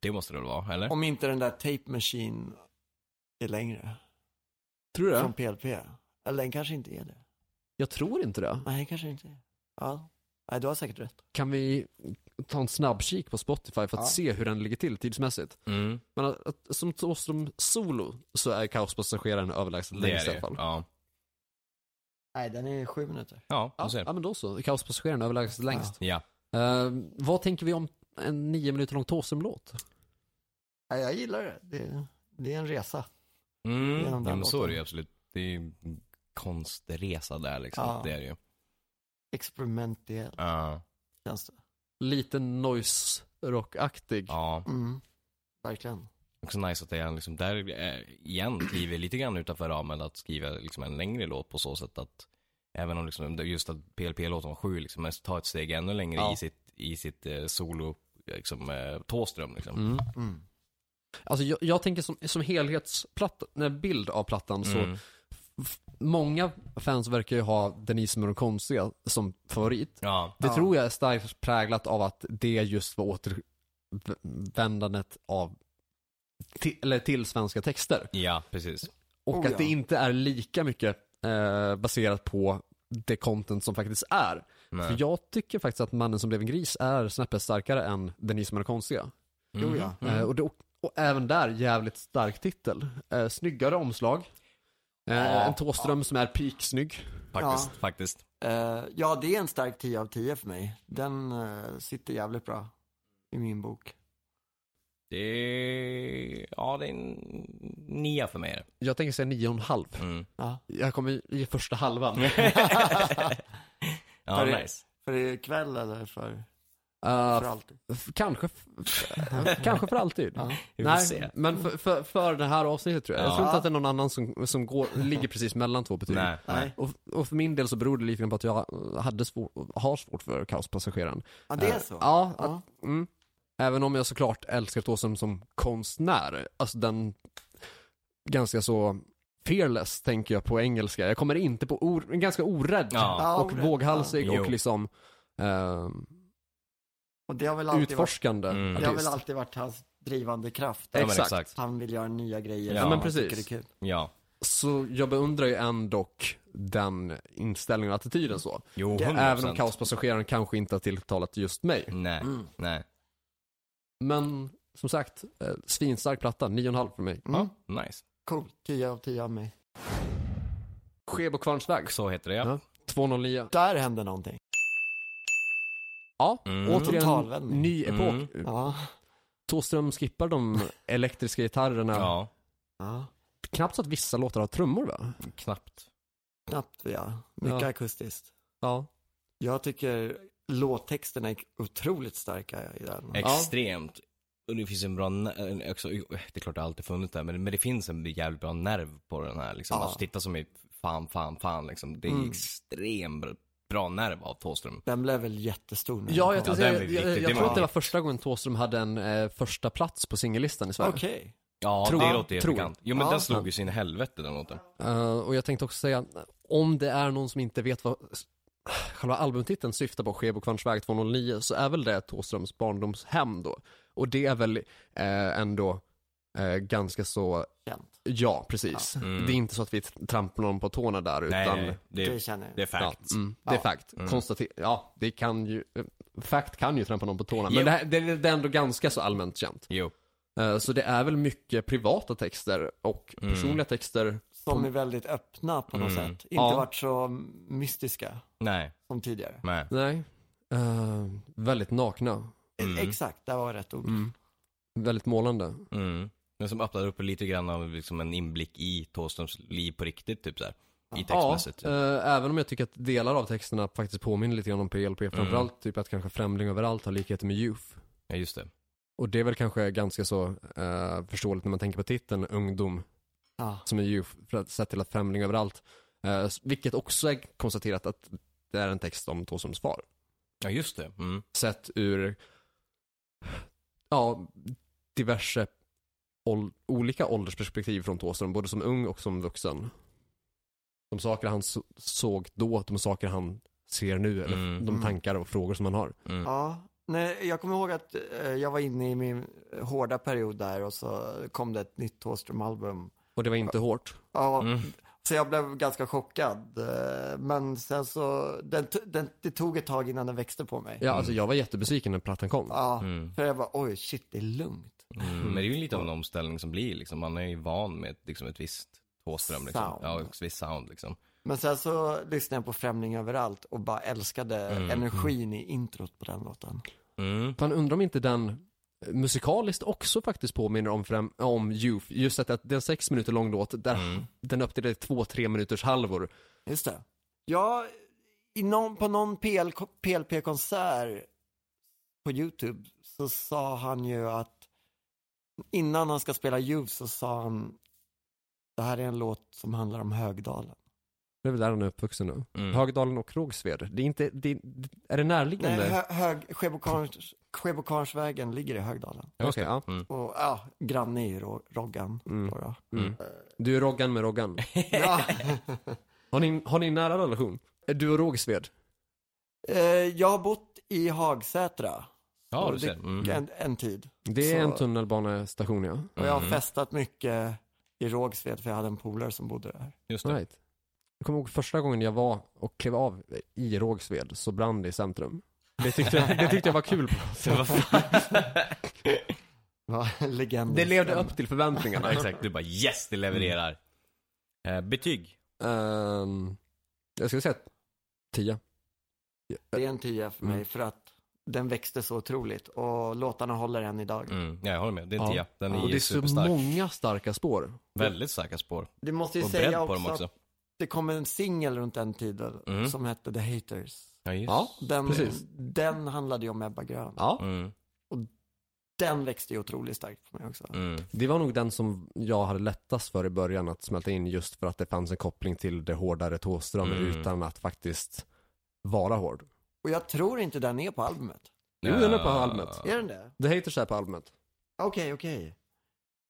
Det måste det väl vara, eller? Om inte den där Tape Machine är längre. Tror du det? Från PLP. Eller den kanske inte är det. Jag tror inte det. Nej, den kanske inte är. Ja. Nej, du har säkert rätt. Kan vi ta en snabbkik på Spotify för att Ja. se hur den ligger till tidsmässigt? Mm. Men att, att, som Thåström-solo så är Kaospassageraren överlägset Det är längst i det. alla fall. Ja, Nej, den är sju minuter. ja du Ja, ser. ja men då så. Kaospassageraren överlägset längst. Ja. Eh, vad tänker vi om en nio minuter lång Thåström-låt? Nej, jag gillar det. det. Det är en resa. Mm. Genom Ja, den men så låten. är det ju absolut. Det är ju en konstresa där liksom. Ja. Det är det ju. Experimentell Ja. känns det. Lite noise rockaktig. ja. Mm. Verkligen. Också nice att det är liksom, där eh, igen kliver lite grann utanför ramen att skriva liksom en längre låt på så sätt att även om liksom, just att PLP-låten var sju liksom, men ta ett steg ännu längre Ja. i sitt, i sitt eh, solo, liksom eh, Thåström liksom. Mm. Mm. Alltså jag, jag tänker som, som helhetsplatta, nej, bild av plattan så Mm. f- många fans verkar ju ha Denise med de konstiga som favorit. Ja. Det Ja. tror jag är starkt präglat av att det just var återvändandet av till, eller till svenska texter. ja, precis. Och Oh, att ja. det inte är lika mycket eh, baserat på det content som faktiskt är. För Men, jag tycker faktiskt att Mannen som blev en gris är snäppet starkare än Denise som är den konstiga. Jo, ja. Mm. Eh, och, det, och, även där jävligt stark titel. Eh, snyggare omslag. Eh, Ja. en Thåström som är piksnygg. Faktiskt, faktiskt. Eh, ja, det är en stark 10 av 10 för mig. Den eh, sitter jävligt bra i min bok. Det är, ja det är en nia för mig. Jag tänker säga 9,5. Mm. Ja. Jag kommer i första halvan. Eh, Ja, För det- nice. För ikväll eller för, för Eh, alltid? f- kanske, f- kanske för alltid. Ja. Vi får Nej, se. men för, för, för det här avsnittet tror jag. Jag Ja. tror inte att det är någon annan som, som går, ligger precis mellan två betyg. Nej, nej. Och, och för min del så beror det lite grann på att jag hade svår, har svårt för kaospassageraren. Ja, det är Eh, så? Ja, att, Ja. Mm. Även om jag såklart älskar Thåström som konstnär, alltså den ganska så fearless tänker jag på engelska. Jag kommer inte på or, ganska orädd Ja. Ja, och orädd, våghalsig ja. och Jo. liksom ehm, Och det har väl alltid, varit, utforskande Mm. det har väl artist. alltid varit hans drivande kraft? Ja, men Exakt. exakt. Han vill göra nya grejer. Ja, som men han tycker precis. är kul. Ja. Så jag beundrar ju ändå den inställningen och attityden så. Jo, 100%. Även om kaospassageraren kanske inte har tilltalat just mig. Nej, Mm. nej. Men som sagt, eh, svinstark platta, 9,5 för mig. Mm. Nice. Cool, 10 av 10 av mig. Skebo Kvarnsväg, Så heter det ja. Ja. 209. Där hände någonting. Ja, Mm. återigen Totalvändning. ny Mm. epok. Ja. Thåström skippar de elektriska gitarrerna. Ja, ja. Knappt så att vissa låtar har trummor va? knappt. Knappt ja. Mycket Ja. akustiskt. Ja. Jag tycker låttexterna är otroligt starka i den. Extremt. Och det finns en bra, ner- en- också, det är klart det har alltid funnits där, men, men det finns en jävligt bra nerv på den här liksom. Ja. Alltså titta som i fan, fan, fan liksom. Det är Mm. extremt bra nerv av Thåström. Den blev väl jättestor nu? Ja, jag, Ja, tror den jag, blev jag, viktig. jag Det tror var att det var viktigt. första gången Thåström hade en eh, första plats på singellistan i Sverige. Okej. Ja, Tror- det ja, låter ju tror. bekant. Jo men Ja. den slog ju sin helvete den låten. Eh, och jag tänkte också säga, om det är någon som inte vet vad s- själva albumtiteln syftar på, Skebo Kvarnsväg 209, så är väl det Thåströms barndomshem då. Och det är väl eh, ändå eh, ganska så, Känt. ja precis. Mm. Det är inte så att vi t- trampar någon på tårna där Nej, utan nej, det, Det är- känner jag. det är Ja, facts. mm, det är Ja. fakt. Mm. Konstater- ja, det kan ju, eh, fakt kan ju trampa någon på tårna. Jo. Men det, här, det, det är ändå ganska så allmänt känt. Jo. Eh, Så det är väl mycket privata texter och Mm. personliga texter. Som är väldigt öppna på något Mm. sätt. Inte Ja. varit så mystiska Nej, som tidigare. nej. Nej. Eh, väldigt nakna. Mm. Exakt, där var rätt ord. Väldigt målande. Mm. Men som öppnar upp lite grann av liksom en inblick i Thåströms liv på riktigt typ såhär. I textmässigt. typ. Ja, eh, även om jag tycker att delar av texterna faktiskt påminner lite grann om PLP. Framförallt typ att kanske Främling överallt har likheter med Youth. Ja, just det. Och det är väl kanske ganska så eh, förståeligt när man tänker på titeln Ungdom Ja. som är Youth, för att- sett till att Främling överallt. Eh, vilket också är konstaterat att det är en text om Thåströms far. Ja, just det. Mm. Sett ur ja, diverse ål- olika åldersperspektiv från Thåström, både som ung och som vuxen. De saker han så- såg då, de saker han ser nu, eller Mm. de tankar och frågor som han har. Mm. Ja, nej, jag kommer ihåg att eh, jag var inne i min hårda period där och så kom det ett nytt Thåström-album. Och det var inte hårt. Ja, Mm. så jag blev ganska chockad. eh, Men sen så, den, t- den, det tog ett tag innan den växte på mig. Ja, alltså jag var jättebesviken när plattan kom. Ja, Mm. för jag var oj shit det är lugnt. Mm. Men det är ju lite av en omställning som blir liksom. Man är ju van med ett- liksom, ett visst Thåström liksom. Sound. Ja, ett visst sound liksom. Men sen så lyssnade jag på Främling överallt och bara älskade energin i introt på den låten. Mm. Fan undrar om inte den eh, musikaliskt också faktiskt påminner om, fram, om Youth. Just att, att det är en sex minuter lång låt där Mm. den uppdelade i två tre minuters halvor. Just det. Ja, i någon, på någon PL, PLP-konsert på YouTube så sa han ju att innan han ska spela Youth så sa han det här är en låt som handlar om Högdalen. Det är väl där han är uppvuxen nu. Mm. Högdalen och Rågsved. Det är inte, det, det- är det närliggande? Nej, hö, hög, Skebo Karns- Skebo Karnsvägen ligger i Högdalen. Okej, Just det. ja. Mm. Och ja, granne i Ro- Roggan. Då, då. Mm. Du är Roggan med Roggan. Ja, Har ni, har ni en nära relation? Är Du och Rågsved? eh, jag har bott i Hagsätra Ja, Och du det- ser. Mm. en, en tid. Det är Så- en tunnelbanestation ja. Och jag har Mhm. festat mycket i Rågsved för jag hade en polare som bodde där. Just det. Right. Jag kommer ihåg första gången jag var och klev av i Rågsved så brann det i centrum. Det tyckte jag, det tyckte jag var kul på något sätt. Vad fan? Ja, legenden. Det levde upp till förväntningarna. Ja, exakt. Du bara yes, det levererar. Eh, betyg. Ehm, jag skulle säga 10. Det är en tia för mig Mm. för att den växte så otroligt och låtarna håller än idag. Mm. Ja, jag håller med. Det är en Ja. tia. Den Och är det är ju så superstark. många starka spår. Väldigt starka spår. Du måste ju Och bredd säga på också, dem också. att det kom en singel runt den tiden Mm. som hette The Haters. Ja, just. Ja, Den, Precis. den handlade ju om Ebba Grön. Ja, Mm. Den växte ju otroligt starkt för mig också. Mm. det var nog den som jag hade lättast för i början att smälta in just för att det fanns en koppling till det hårdare Thåström Mm. utan att faktiskt vara hård. Och jag tror inte den är på albumet. Jo, den är på albumet. Ah, Är den det? The Haters är på albumet. Okej, okej.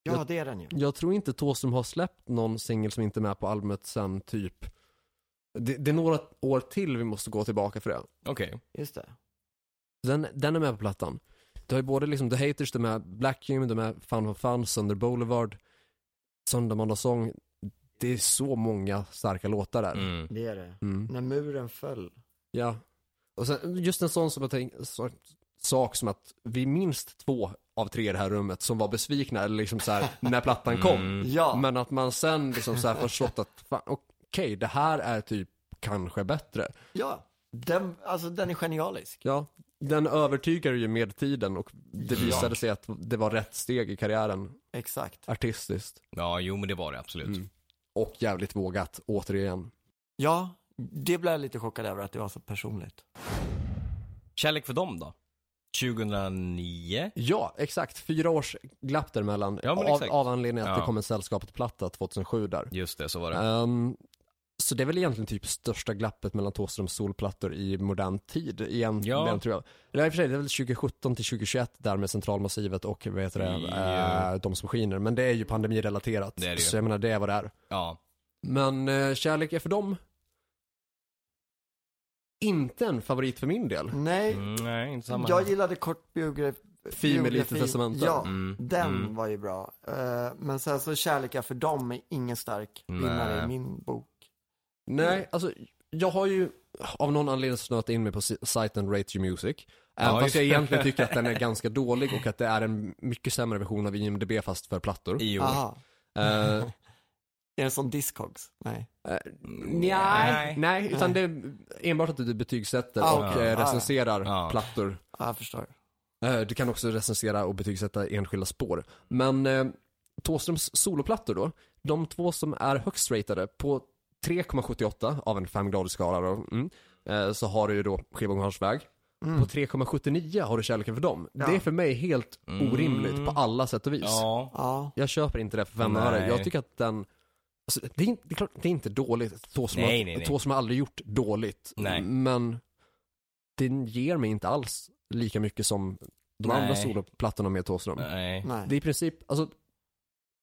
Ja, Jag- det är den ju. Jag tror inte Thåström har släppt någon singel som inte är med på albumet sen typ det, det är några år till vi måste gå tillbaka för det. Okej. Just det. Den, den är med på plattan. Du har ju både liksom The Haters, de är Black Human, de är Fun for Fun, Thunder Boulevard, Söndermandagssång. Det är så många starka låtar där. Mm. Det är det. Mm. När muren föll. Ja. Och sen just en sån som jag tänk, så, sak som att vi är minst två av tre i det här rummet som var besvikna eller liksom så här, när plattan kom. Mm. Ja. Men att man sen liksom så här förstått att fan, okej, det här är typ kanske bättre. Ja, den, alltså den är genialisk. Ja, den övertygar ju med tiden och det Ja. visade sig att det var rätt steg i karriären Exakt. artistiskt. Ja, jo men det var det absolut. Mm. Och jävligt vågat, återigen. Ja, det blev jag lite chockad över att det var så personligt. Kärlek för dem då? 2009? Ja, exakt. Fyra års glapp däremellan. Ja, men av, exakt. av anledningen att Ja. det kom en Sällskapet-platta 2007 där. Just det, så var det. Ehm, Så det är väl egentligen typ största glappet mellan Thåströms solplattor i modern tid egentligen Ja. tror jag. Eller i och för sig, det är väl 2017 till 2021 där med centralmassivet och vad heter det, Ja. eh, de som skiner. Men det är ju pandemirelaterat. Det är det ju. Så jag menar, det är vad det är. Ja. Men eh, kärlek är för dem. Inte en favorit för min del. Nej, Mm, nej, inte samma. jag gillade kort biografi. Fin med lite biografi. testamente. Ja, Mm, den mm. var ju bra. Eh, men sen så Kärleka för dem är ingen stark vinnare Nej. i min bok. Nej, alltså jag har ju av någon anledning snöat in mig på si- sajten Rate Your Music. Även Ja, fast just jag det. egentligen tycker att den är ganska dålig och att det är en mycket sämre version av IMDB fast för plattor. Jo. Aha. Eh, Är det som Discogs? Nej. Nej, nej, utan det är enbart att du typ betygsätter Ah, och okej. eh, recenserar Ah. plattor. Ja, jag förstår. Eh, Du kan också recensera och betygsätta enskilda spår. Men eh, Thåströms soloplattor då, de två som är högst ratade på 3,78 av en femgradig skala då, mm, eh, så har du ju då Skivgångarens väg. På 3,79 har du Kärleken för dem. Det är för mig helt orimligt på alla sätt och vis. Ja. Ja. Jag köper inte det för fem öre. Nej. Jag tycker att den alltså, det, är, inte- det är klart, det är inte dåligt. Thåström Nej, nej, nej. har, Thåström har aldrig gjort dåligt. Nej. Men den ger mig inte alls lika mycket som de Nej. andra soloplattorna med Thåström. Nej. Nej. Det är i princip, alltså,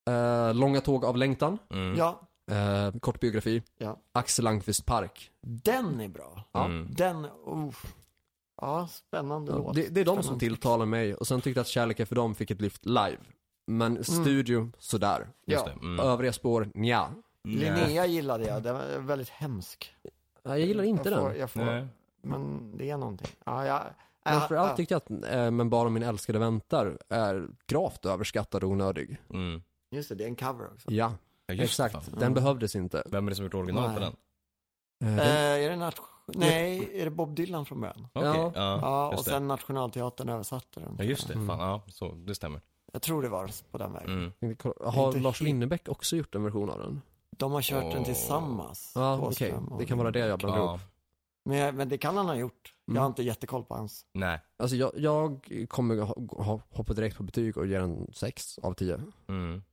eh, Långa tåg av längtan, Mm. Ja, eh, kort biografi, Ja. Axel Almqvist park. den är bra. Ja. Mm. Den, oh. Ja, spännande låt. Det, det är de som Spännande. tilltalar mig och sen tyckte jag att Kärlek är för dem fick ett lyft live. Men studio, sådär. Just Ja. det. Mm. Övriga spår, nja. Nej. Linnea gillade jag, den var väldigt hemsk. Nej, Jag gillar inte jag får, den. Jag får, Nej. Men det är någonting. Ja, jag, Men framförallt ja, tyckte jag att eh, Men bara min älskade väntar är gravt överskattad och onödig. Mm. Just det, det är en cover också. Ja, Ja, just det, exakt. fan. Den behövdes inte. Vem är det som gjort original på Nej. den? Eh, Eh, den- är det nation... Nej, är det Bob Dylan från början? Okej. Ja. Ja. Ja, och just det. sen Nationalteatern översatte den. ja, just det. Fan, ja, så, det stämmer. Jag tror det var på den vägen. Mm. Har Inte Lars helt- Winnerbäck också gjort en version av den? De har kört den Åh. tillsammans. Ja, okej. Thåström och- Det kan vara det jag blandar ihop. Ja. Men, jag- men det kan han ha gjort. Jag har Mm. inte jättekoll på hans. Nej. Alltså jag, jag kommer ha, ha, hoppa direkt på betyg och ge den 6 av 10. Mm.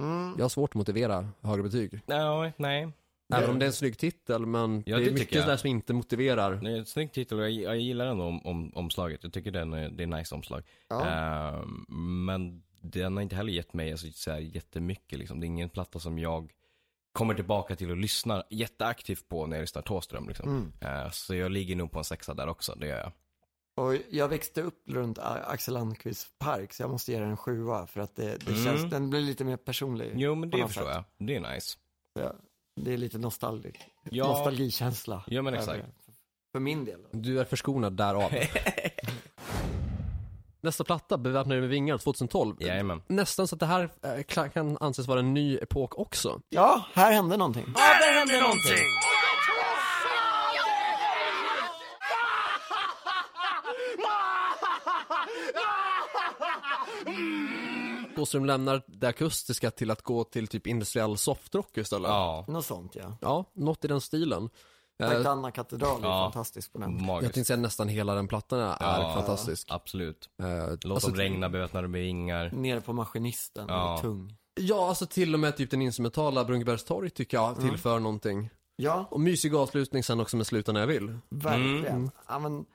Mm. Jag har svårt att motivera högre betyg. Nej, nej. Även om det är en snygg titel, men Ja, det det är mycket tycker jag. där som inte motiverar. Det är ett snyggt titel och jag, jag gillar ändå om, om, omslaget. Jag tycker den är, det är nice omslag. Ehm, men den har inte heller gett mig alltså, så här, jättemycket. Liksom. Det är ingen platta som jag kommer tillbaka till och lyssnar jätteaktivt på när jag lyssnar Thåström. Liksom. Mm. Ehm, så jag ligger nog på en sexa där också, det gör jag. Och jag växte upp runt A- Axel Almqvists park, så jag måste ge den en sjua för att det, det Mm. känns, den blir lite mer personlig. Jo men på det något förstår sätt. jag. Det är nice. Det är lite nostalgi, Ja. nostalgikänsla. Ja, men över exakt. det. För, för min del. då. Du är förskonad därav. Nästa platta, Beväpnade med vingar, 2012. Jajamän. Nästan så att det här eh, kla- kan anses vara en ny epok också. Ja, här hände någonting. Åström lämnar det akustiska till att gå till typ industriell softrock istället. Ja, Något sånt ja. Ja, något i den stilen. Eh, Sankt Anna katedral är Ja. fantastisk på den. jag magiskt. tänkte säga nästan hela den plattan är Ja. fantastisk. Absolut. Eh, Låt alltså, dem regna beväpnade med vingar. Nere på maskinisten, Ja. ja. tung. Ja, alltså till och med typ den instrumentala Brunkebergstorg tycker jag tillför någonting. Ja, Och mysig avslutning sen också med Sluta när jag vill. verkligen. Ja, men,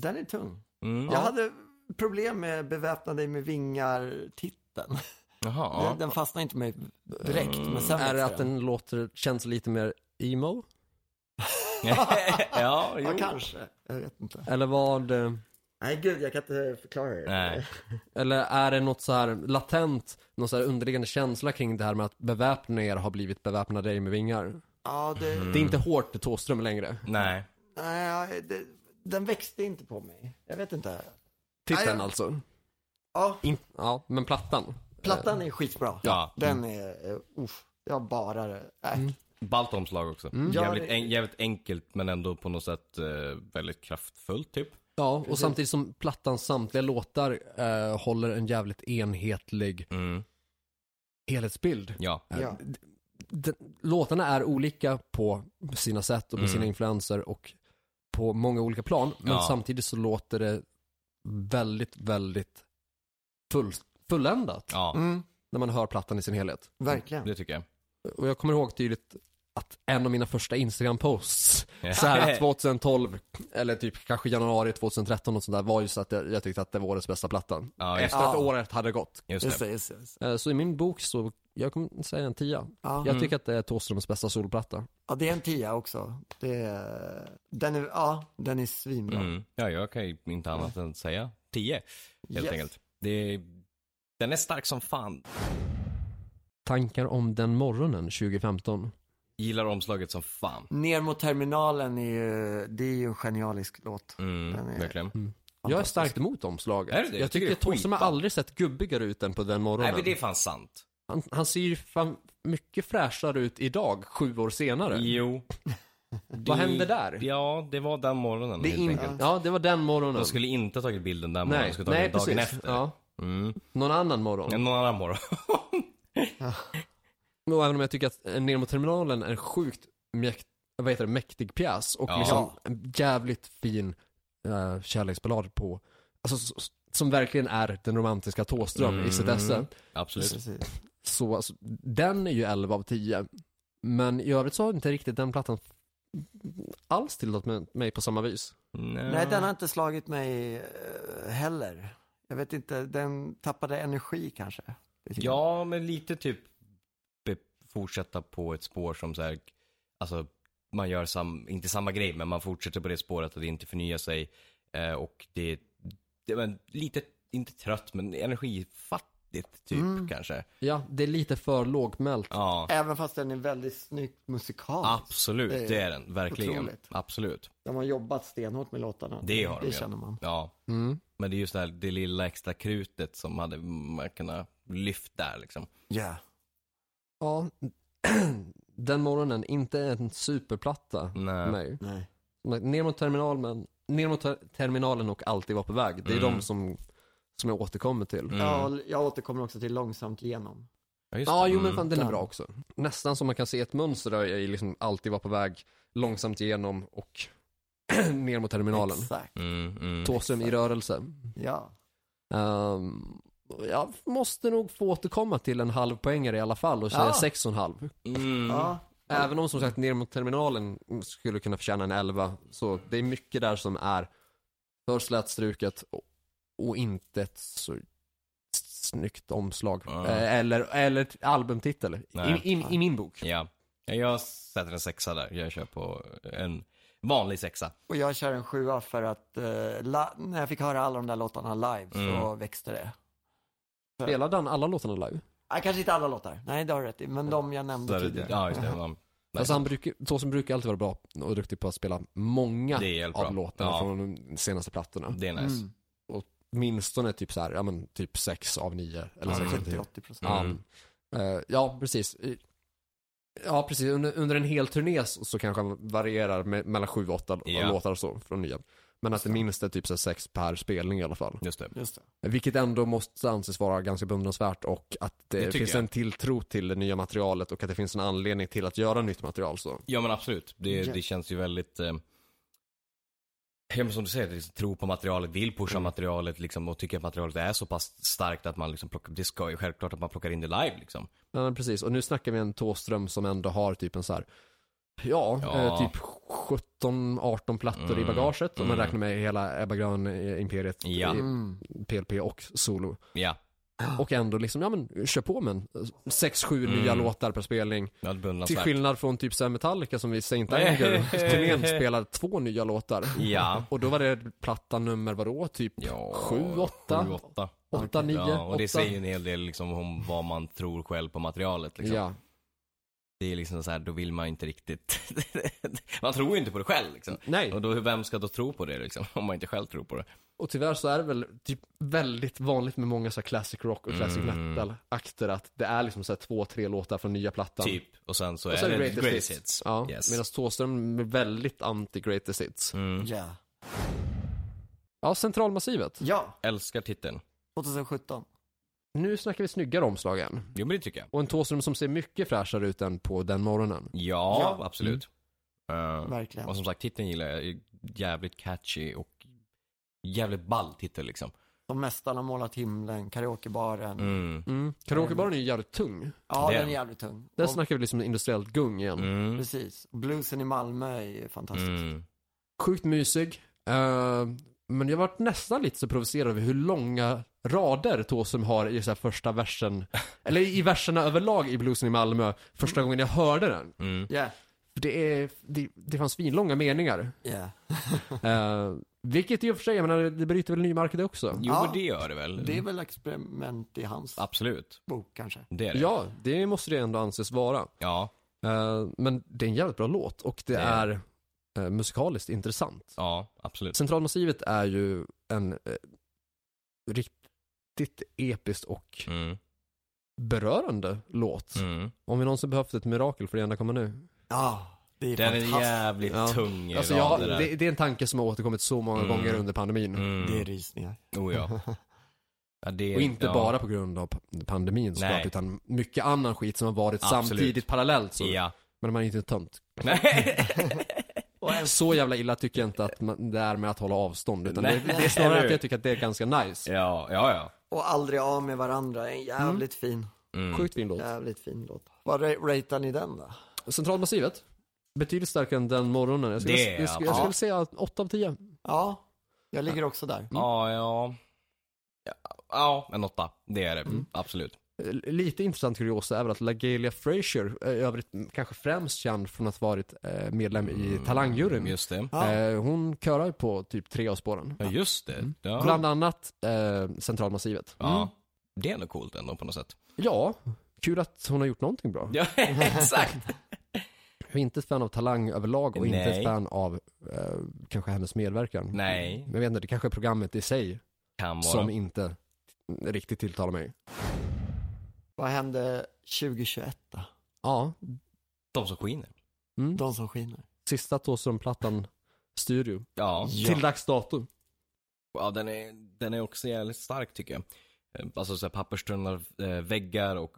den är tung. Mm. Jag hade problem med beväpna dig med vingar-titeln. Jaha. Den, den fastnade inte mig direkt, men sen Är det växte att den låter, känns lite mer emo? ja, Ja, jo. kanske. Jag vet inte. Eller vad, eh, Nej, gud, jag kan inte förklara det. Nej. eller är det något så här latent, någon så här underliggande känsla kring det här med att beväpna er har blivit beväpna dig med vingar? Ja, det, Mm. Det är inte hårt till Thåström längre. Nej. nej, det, den växte inte på mig. Jag vet inte. Titeln Nej, jag- alltså. Ja, In, ja, men plattan. plattan är skitbra. Ja. Mm. Den är, eh, uff, jag bara det. Äh. Ballt omslag också. Ja, Jävligt, det- en, jävligt enkelt men ändå på något sätt eh, väldigt kraftfullt typ. Ja, och samtidigt som plattans samtliga låtar eh, håller en jävligt enhetlig Mm. helhetsbild. Ja. Ja. Den, låtarna är olika på sina sätt och på sina influenser och på många olika plan. Men Ja. samtidigt så låter det väldigt, väldigt full, fulländat Ja, Mm, när man hör plattan i sin helhet. verkligen. det tycker jag. Och jag kommer ihåg tydligt att en av mina första Instagram-posts så här 2012 eller typ kanske januari 2013 och sånt där var ju så att jag, jag tyckte att det var årets bästa platta. Ja, just, Efter att Ja. året hade gått. just Just det. det, just det, just det. Eh, Så i min bok så, jag kommer säga en tia. Ja. Mm. Jag tycker att det är Thåströms bästa solplatta. Ja, det är en tia också. Det är, den är, ja, den är svinbra. Mm. Ja, jag kan ju inte annat än säga 10 helt Yes. enkelt. Det är, den är stark som fan. Tankar om den morgonen 2015. Gillar omslaget som fan. Ner mot terminalen är ju, det är ju en genialisk låt. Mm, Den är- verkligen. Jag är starkt emot omslaget. Är du det? Jag tycker det är Thåström har skitball. aldrig sett gubbigare ut än på den morgonen. Nej, men det är fan sant. han, han ser ju fan mycket fräschare ut idag, sju år senare. Jo. Det- Vad hände där? Ja, det var den morgonen Det är helt in... enkelt. Ja, det var den morgonen. De skulle inte ha tagit bilden den morgonen, de Nej, skulle ha nej tagit den dagen precis. efter. Ja. Mm. Någon annan morgon. Någon annan morgon. Och även om jag tycker att eh, Ner mot terminalen är en sjukt mäkt, vad heter det, mäktig pjäs och Ja. liksom en jävligt fin eh, kärleksballad på, alltså, s- s- som verkligen är den romantiska Thåström i sitt Mm. esse. Absolut. Precis. Så alltså, den är ju 11 av 10. Men i övrigt så har inte riktigt den plattan alls tillåtit mig- mig på samma vis. Nej, den har inte slagit mig eh, heller. Jag vet inte, den tappade energi kanske. Det tycker jag. Ja, men lite typ be- fortsätta på ett spår som så här, alltså man gör sam, inte samma grej, men man fortsätter på det spåret att inte förnya sig eh, och det, det var en lite, inte trött, men energifattigt typ kanske. Ja, det är lite för lågmält. Ja, Även fast den är väldigt snyggt musikalisk. absolut, det är det är den, verkligen. otroligt. Absolut, De har jobbat stenhårt med låtarna. det har det de ju. känner man. Ja, Mm. men det är just det här, det lilla extra krutet som hade man kunnat lyft där liksom. Ja. Ja, den morgonen, inte en superplatta. Nej. Nej. Nej. Ner mot terminalen, ner mot ter- terminalen och alltid vara på väg. Det är Mm. de som, som jag återkommer till. Mm. Jag, jag återkommer också till långsamt genom. Ja, just Ja, det. jo men Mm. fan den är bra också. Nästan som man kan se ett mönster där i liksom alltid vara på väg långsamt igenom och ner mot terminalen. Exakt. Mm, mm. Thåström i rörelse. Ja. Ehm, jag måste nog få återkomma till en halv poängare i alla fall och säga Ja. sex och en halv. Mm. ja. Även om som sagt ner mot terminalen skulle kunna förtjäna en elva. Så det är mycket där som är för slätstruket och- och inte ett så snyggt omslag. Ja. Eh, Eller, eller t- albumtitel. Nej. I, i, I min bok. Ja, Ja, jag sätter en sexa där. Jag kör på en vanlig sexa. Och jag kör en sjua för att eh, la- när jag fick höra alla de där låtarna live så Mm. växte det. Spelade han alla låtarna live? Nej, kanske inte alla låtar. Nej, det har du rätt i. Men de jag Så nämnde är tidigare. det, ja, just det. Ja, Nej. Alltså han brukar, Thåström brukar alltid vara bra och duktig på att spela många Det är helt bra. av låtarna Ja. från de senaste plattorna. det är nice. Mm. Åtminstone typ så här, ja men typ sex av nio eller Ja, sex typ. av tio. 70-80 procent. Ja. Mm. Eh, ja, precis. I- Ja, precis. Under, under en hel turné så, så kanske han varierar med, mellan sju och åtta Ja. låtar och så från nya. Men att det minst är typ så här sex per spelning i alla fall. Just det. Just det. Vilket ändå måste anses vara ganska beundransvärt och att det, Det tycker finns jag. en tilltro till det nya materialet och att det finns en anledning till att göra nytt material så. Ja men absolut. Det, Ja. det känns ju väldigt... Eh, ja, men som du säger, det är liksom, tro på materialet, vill pusha Mm. materialet liksom, och tycker att materialet är så pass starkt att man liksom plockar, det ska ju självklart att man plockar in det live liksom. Ja, men precis. Och nu snackar vi en Thåström som ändå har typ en så här, ja, Ja. Eh, typ 17-18 plattor i Mm. bagaget. Om man Mm. räknar med hela Ebba eh, Grön-imperiet, Ja. Mm. PLP och solo. Ja, Och ändå liksom, ja men kör på med en 6-7 Mm. nya låtar per spelning. ja det är Till starkt. skillnad från typ såhär Metallica som vi Saint Nej. Anger-turnén spelade två nya låtar. Ja. Och då var det platta nummer vadå? Typ Ja, Sju, åtta. sju, åtta. 8, 9, Ja, och det 8? säger ju en hel del liksom, om vad man tror själv på materialet. Liksom. Ja, Det är liksom så här, då vill man inte riktigt... man tror ju inte på det själv liksom. nej. Och då, vem ska då tro på det liksom? Om man inte själv tror på det. Och tyvärr så är det väl typ väldigt vanligt med många så här classic rock och classic Mm. metal-akter att det är liksom så här två, tre låtar från nya plattan. Typ. Och sen så Och är sen det greatest, greatest, hits. hits. Ja, Yes. medan Thåström är väldigt anti-greatest hits. Mm. Ja. Ja, centralmassivet. Ja, Älskar titeln. 2017. Nu snackar vi snyggare omslag igen. Jo men det tycker jag. Och en Thåström som ser mycket fräschare ut än på den morgonen. Ja, Ja. absolut. Eh, Verkligen. och som sagt, titeln gillar jag. Jävligt catchy och jävligt ball titel liksom. Som Mästarna målat himlen, Karaokebaren. Mm. Mm. Karaokebaren är ju jävligt tung. Ja, Det- den är jävligt tung. Där Och- snackar vi liksom industriellt gung igen. Mm. Precis. Bluesen i Malmö är ju fantastisk. Mm. Sjukt mysig. Eh, men jag varit nästan lite så provocerad över hur långa rader Thåström har i så här första versen. eller i verserna överlag i bluesen i Malmö. Första gången jag hörde den. Mm. Yeah, För det, är, det, det fanns finlånga meningar. yeah. Eh, vilket i och för sig, jag menar, det bryter väl ny mark det också. Jo, Ja. det gör det väl. Det är väl experiment i hans Absolut. bok kanske. Det är det. Ja, det måste det ändå anses vara. Ja. Eh, men det är en jävligt bra låt och det Det är är eh, musikaliskt intressant. Ja, absolut. Centralmassivet är ju en eh, riktigt episkt och Mm. berörande låt. Mm. Om vi någonsin behövt ett mirakel får det gärna komma nu. Ja, det är Den är fantastiskt. jävligt Ja. tung i Alltså jag, rader där. det, det är en tanke som har återkommit så många Mm. gånger under pandemin. Mm. Det är rysningar. Oh, ja. Ja, det, Och inte ja. bara på grund av pa- pandemin såklart, Nej. utan mycket annan skit som har varit Absolut. samtidigt parallellt. Så. Ja. Men man är inte tömt. Nej. Så jävla illa tycker jag inte att man, det är med att hålla avstånd. Utan det, Nej, det är snarare eller att hur? jag tycker att det är ganska nice. Ja, ja, ja. Och aldrig av med varandra. En jävligt fin, Mm. Sjukt fin låt. jävligt fin låt. Vad ra- ratear ni den då? Centralmassivet, betydligt starkare än den morgonen. Jag skulle, Det är jag skulle, jag absolut. skulle säga 8 av 10. Ja, jag ligger också där. Ja, ja. Ja, Ja, en åtta. Det är det. Mm. Absolut. Eh, Lite intressant kuriosa är väl att LaGalia Frazier, eh, i övrigt m- kanske främst känd från att varit eh, medlem i Talangjuryn. Mm. Just det. Ja. Eh, Hon körar ju på typ tre av spåren. Ja, just det. Ja. Mm. Bland annat eh, Centralmassivet. Mm. ja. Det är nog coolt ändå på något sätt. Ja, kul att hon har gjort någonting bra. Ja, exakt. Jag är inte ett fan av Talang överlag och inte Nej. ett fan av eh, kanske hennes medverkan. Nej. Men Jag vet inte, det kanske är programmet i sig Kan vara. som inte riktigt tilltalar mig. Vad hände 2021 då? Ja, De som skiner. De som skiner. sista Thåström-plattan Studio. Ja. Till dags dato. ja den, är, den är också jävligt stark tycker jag. Eh, Alltså så här, papperstrunnar, eh, väggar och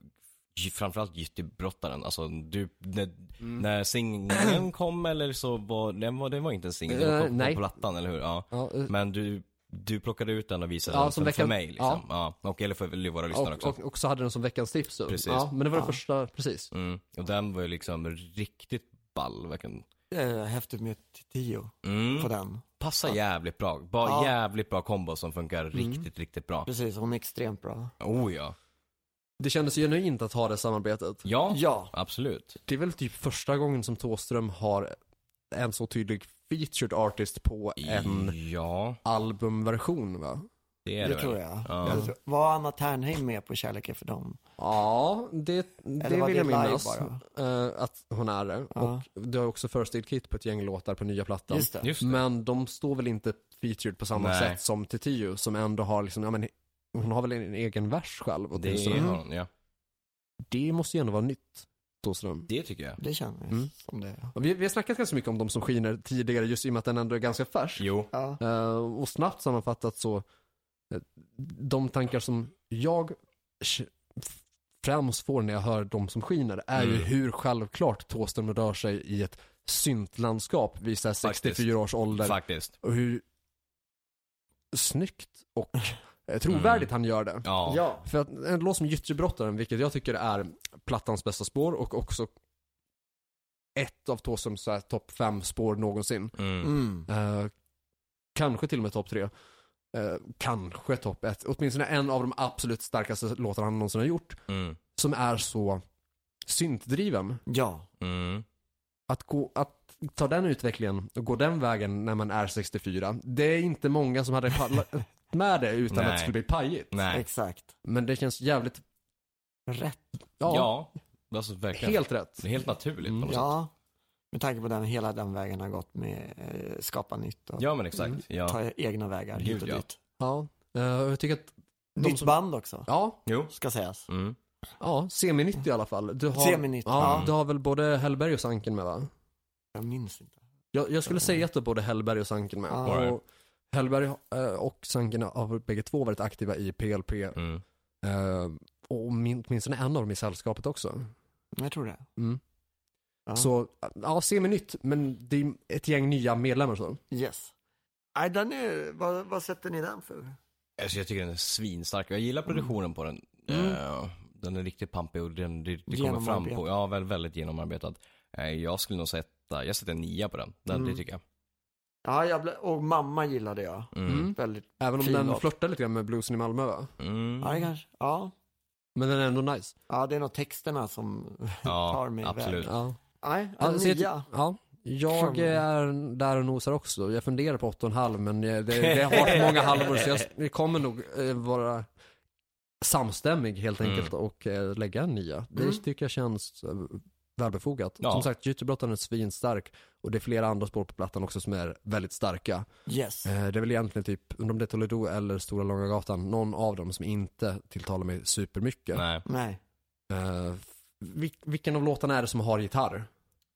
gy- framförallt gyttebrottaren. Alltså du, när, Mm. när singeln kom eller så var den, var, den var inte en singel, den Eh, var på- nej. på plattan eller hur? Ja. Ja, eh, Men du, du plockade ut den och visade Ja, den som för, veckan- för mig liksom. Ja. Och, eller för våra lyssnare och, också. och, och så hade den som veckans tips. så. Precis. Ja, men det var det första, precis. Mm. Och den var ju liksom riktigt ball verkligen. Det är häftigt med ett tio Mm. på den. Passar jävligt bra. Bara Ja. jävligt bra kombo som funkar Mm. riktigt, riktigt bra. Precis, hon är extremt bra. Oh ja. Det kändes ju genuint att ha det samarbetet. Ja, Ja, absolut. Det är väl typ första gången som Thåström har en så tydlig featured artist på en Ja, albumversion va? det är det, det tror väl. jag. Ja. Jag tror- Var Anna Ternheim med på Kärlek är för dem? Ja, det, det vill var det jag live minnas. bara? eh, att hon är det. Ja. Och du har också First Aid Kit på ett gäng låtar på nya plattan. Just det. Just det. Men de står väl inte featured på samma Nej. sätt som Titiyo som ändå har liksom, ja men hon har väl en egen vers själv Det åtminstone. är Mm. hon, ja. mm, det måste ju ändå vara nytt Thåström. Det tycker jag. Det känner jag Mm. som det. Och Vi, vi har snackat ganska mycket om de som skiner tidigare just i och med att den ändå är ganska färsk. Jo. Ja. Eh, och snabbt sammanfattat så, eh, de tankar som jag sh- f- främst får när jag hör de som skiner är ju Mm. hur självklart Thåström rör sig i ett syntlandskap vid så här Faktiskt. 64 års ålder. Faktiskt. och hur snyggt och eh, trovärdigt han gör det. Mm. Ja. Ja. För att en låt som Gyttjebrottaren, vilket jag tycker är plattans bästa spår och också ett av Thåströms så här topp fem spår någonsin. Mm. Mm. Eh, kanske till och med topp tre. Eh, kanske topp ett. Åtminstone en av de absolut starkaste låtarna han någonsin har gjort. Mm. Som är så syntdriven. Ja. Mm. Att, gå, att ta den utvecklingen och gå den vägen när man är 64. Det är inte många som hade pallat med det utan att det Nej. skulle bli pajigt. Nej. exakt. Men det känns jävligt, Rätt. ja, Ja. Alltså verkligen. helt rätt. Det är helt naturligt på något sätt. Ja. Med tanke på den, hela den vägen har gått med eh, skapa nytt och Ja men Mm. exakt. Ja. ta egna vägar Gud, hit och ja. dit. Ja. Eh, jag tycker att, De Nytt som- band också, ja, Jo. ska sägas. Mm. ja, seminytt i alla fall. Du har, Seminytt, ja, ja. Du har väl både Hellberg och Sanken med va? Jag minns inte. Jag, jag skulle säga att det är både Hellberg och Sanken med. Ah. Alright. Och Hellberg eh, och Sanken har bägge två varit aktiva i PLP. Mm. eh, Och min- åtminstone en av dem i sällskapet också. Jag tror det. Ja. Så, ja, seminytt, men det är ett gäng nya medlemmar så. Yes. Nej, den är, vad, vad sätter ni den för? Alltså jag tycker den är svinstark. Jag gillar produktionen på den. Mm. Eh, Den är riktigt pampig och den, det, det kommer fram på. Genomarbetad. Ja, väl, väldigt genomarbetad. Eh, Jag skulle nog sätta, jag sätter en nia på den. Den Det Mm. tycker jag. Ja, jag ble... och mamma gillade jag. Mm. Mm. Väldigt. Även om Fin den låt. flörtar lite grann med bluesen i Malmö va? Mm. Ja, det kanske. Ja. Men den är ändå nice. ja, det är nog texterna som tar Ja, mig iväg. absolut. Ja. Nej, en Alltså, jag- nia. ja. Jag Sjunger. är där och nosar också. Jag funderar på 8,5 men jag- det, det har varit många halvor så jag vi kommer nog eh, vara samstämmig helt Mm. enkelt och eh, lägga en nia. Det Mm. tycker jag känns eh, välbefogat. Ja. Som sagt, Gytebrottan är svinstark och det är flera andra spår på plattan också som är väldigt starka. Yes. Eh, Det är väl egentligen typ, undrar om det är Toledo eller Stora Långa Gatan, någon av dem som inte tilltalar mig supermycket. Nej. Nej. Eh, vil- vilken av låtarna är det som har gitarr?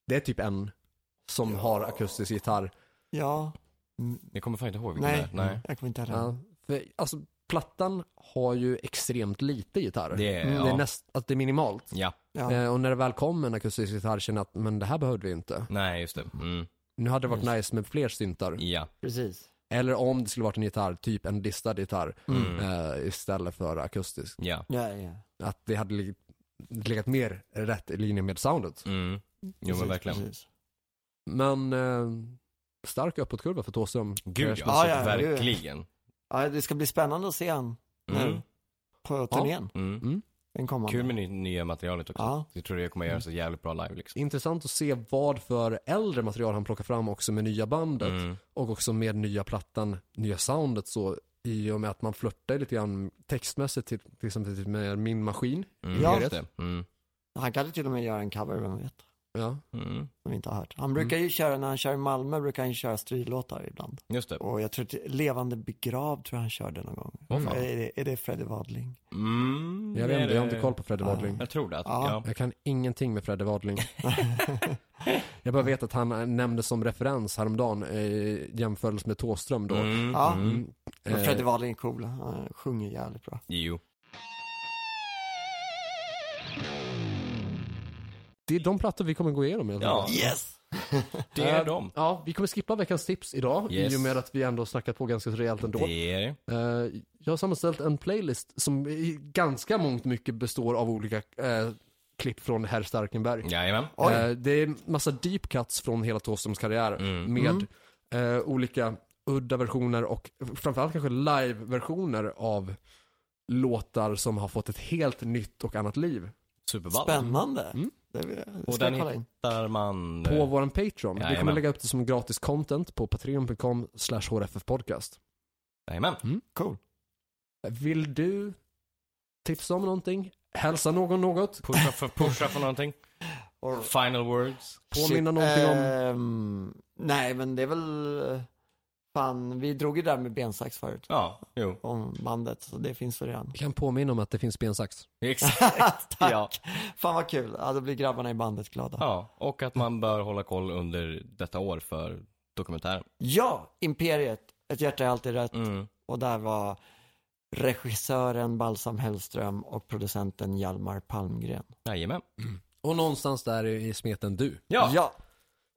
Det är typ en som har akustisk gitarr. Ja, Mm, Jag kommer fan inte ihåg vilken Nej. det är. Nej. jag kommer inte ihåg den. Ja, för, alltså, plattan har ju extremt lite gitarr. Det är, Mm, ja. Det är, näst, alltså, det är minimalt. ja. Ja. Eh, och när det väl kom en akustisk gitarr kände jag att men det här behövde vi inte. Nej, just det. Mm. Nu hade det varit nice med fler syntar. Ja. Precis. Eller om det skulle varit en gitarr, typ en distad gitarr Mm. eh, istället för akustisk. Ja. Ja, ja. Att det hade lig- legat mer rätt i linje med soundet. Mm. Jo men Precis, verkligen. precis. Men eh, stark uppåtkurva för Thåström. Gud ja, alltså, Ja, ja, det är ju- verkligen. Ja, det ska bli spännande att se han Mm. nu på turnén. Mm. Den kommande. Kul med ny, nya materialet också. Ja. Jag tror det kommer göra så jävligt bra live liksom. Intressant att se vad för äldre material han plockar fram också med nya bandet. Mm. Och också med nya plattan, nya soundet så i och med att man flörtar lite grann textmässigt till, till exempel med Min Maskin. Mm. Ja. Just det. Mm. Han kanske till och med gör en cover, vem vet. Ja. Mm. Som vi inte har hört. Han brukar ju köra, när han kör i Malmö brukar han ju köra stridlåtar ibland. Just det. Och jag tror att Levande begravd tror jag han körde någon gång. Åh, fan. Är, det, är det Freddy Wadling? Mm. Jag det vet är inte, jag har det. inte koll på Fredde Wadling. Jag tror det. Att, ja. Ja. Jag kan ingenting med Fredde Wadling. jag bara vet att han eh, nämndes som referens häromdagen i jämförelse med Thåström då. Mm. Ja. Mm. Men Eh, Freddy Wadling är cool, han sjunger jävligt bra. Jo. Det är de plattor vi kommer gå igenom helt Ja. enkelt. Yes! Det är Eh, dem. Ja, vi kommer skippa veckans tips idag Yes. i och med att vi ändå har snackat på ganska rejält ändå. Det är det. Eh, jag har sammanställt en playlist som i ganska mångt mycket består av olika eh, klipp från herr Starkenberg. Jajamän. Eh, det är massa deep cuts från hela Thåströms karriär Mm. med eh, olika udda versioner och framförallt kanske live-versioner av låtar som har fått ett helt nytt och annat liv. Superball. Spännande! Mm. Det vill- Och ska den jag kolla in. hittar man... På eh, våran Patreon. vi kommer Jajamän. lägga upp det som gratis content på patreon.com slash hrffpodcast. Jajamän. Mm. Cool. Vill du tipsa om någonting? Hälsa någon något? Pusha för, pusha för någonting. Final words. Påminna Shit, någonting om... ehm, nej, men det är väl... eh, Fan, vi drog ju där med bensax förut. Ja, jo. Om bandet, så det finns väl redan. Jag kan påminna om att det finns bensax. Exakt. Tack! Ja. Fan vad kul. Ja, då blir grabbarna i bandet glada. Ja, och att man bör hålla koll under detta år för dokumentären. Ja, Imperiet. Ett hjärta är alltid rätt. Mm. Och där var regissören Balsam Hellström och producenten Hjalmar Palmgren. Jajamän. Och någonstans där i i smeten du. Ja, ja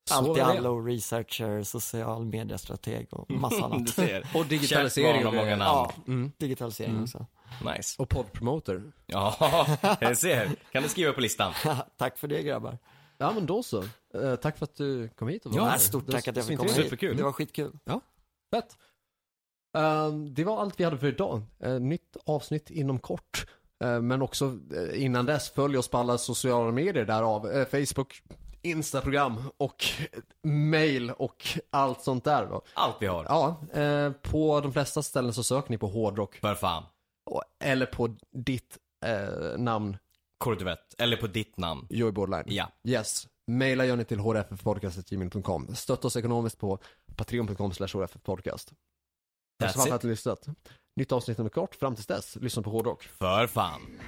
Så var alltid det. allo, researcher, social mediestrateg och massa du annat. ser. Och digitalisering. Kärt barn har många namn. Mm. Ja, digitalisering också. Nice. Och poddpromoter. Ja, jag ser. Kan du skriva på listan? Tack för det grabbar. Ja men då så. Eh, tack för att du kom hit och var Ja, här. Stort Det tack var att jag fick komma svintrevligt. hit. Superkul. Det var skitkul. Fett. Eh, det var allt vi hade för idag. Eh, nytt avsnitt inom kort. Eh, men också eh, innan dess, följ oss på alla sociala medier därav. Eh, Facebook, Instagram och eh, mail och allt sånt där. Va? Allt vi har. Ja, eh, på de flesta ställen så söker ni på hårdrock. För fan. Och- Eller på ditt eh, namn, Korvett. Eller på ditt namn. Joey Bordline. Ja. Yes. Maila gör ni till hrffpodcast.gmail.com. Stötta oss ekonomiskt på patreon.com slash hrffpodcast. Tack så mycket That's för it. att ni har lyssnat. Nytt avsnitt inom kort. Fram tills dess, lyssna på hårdrock. För fan.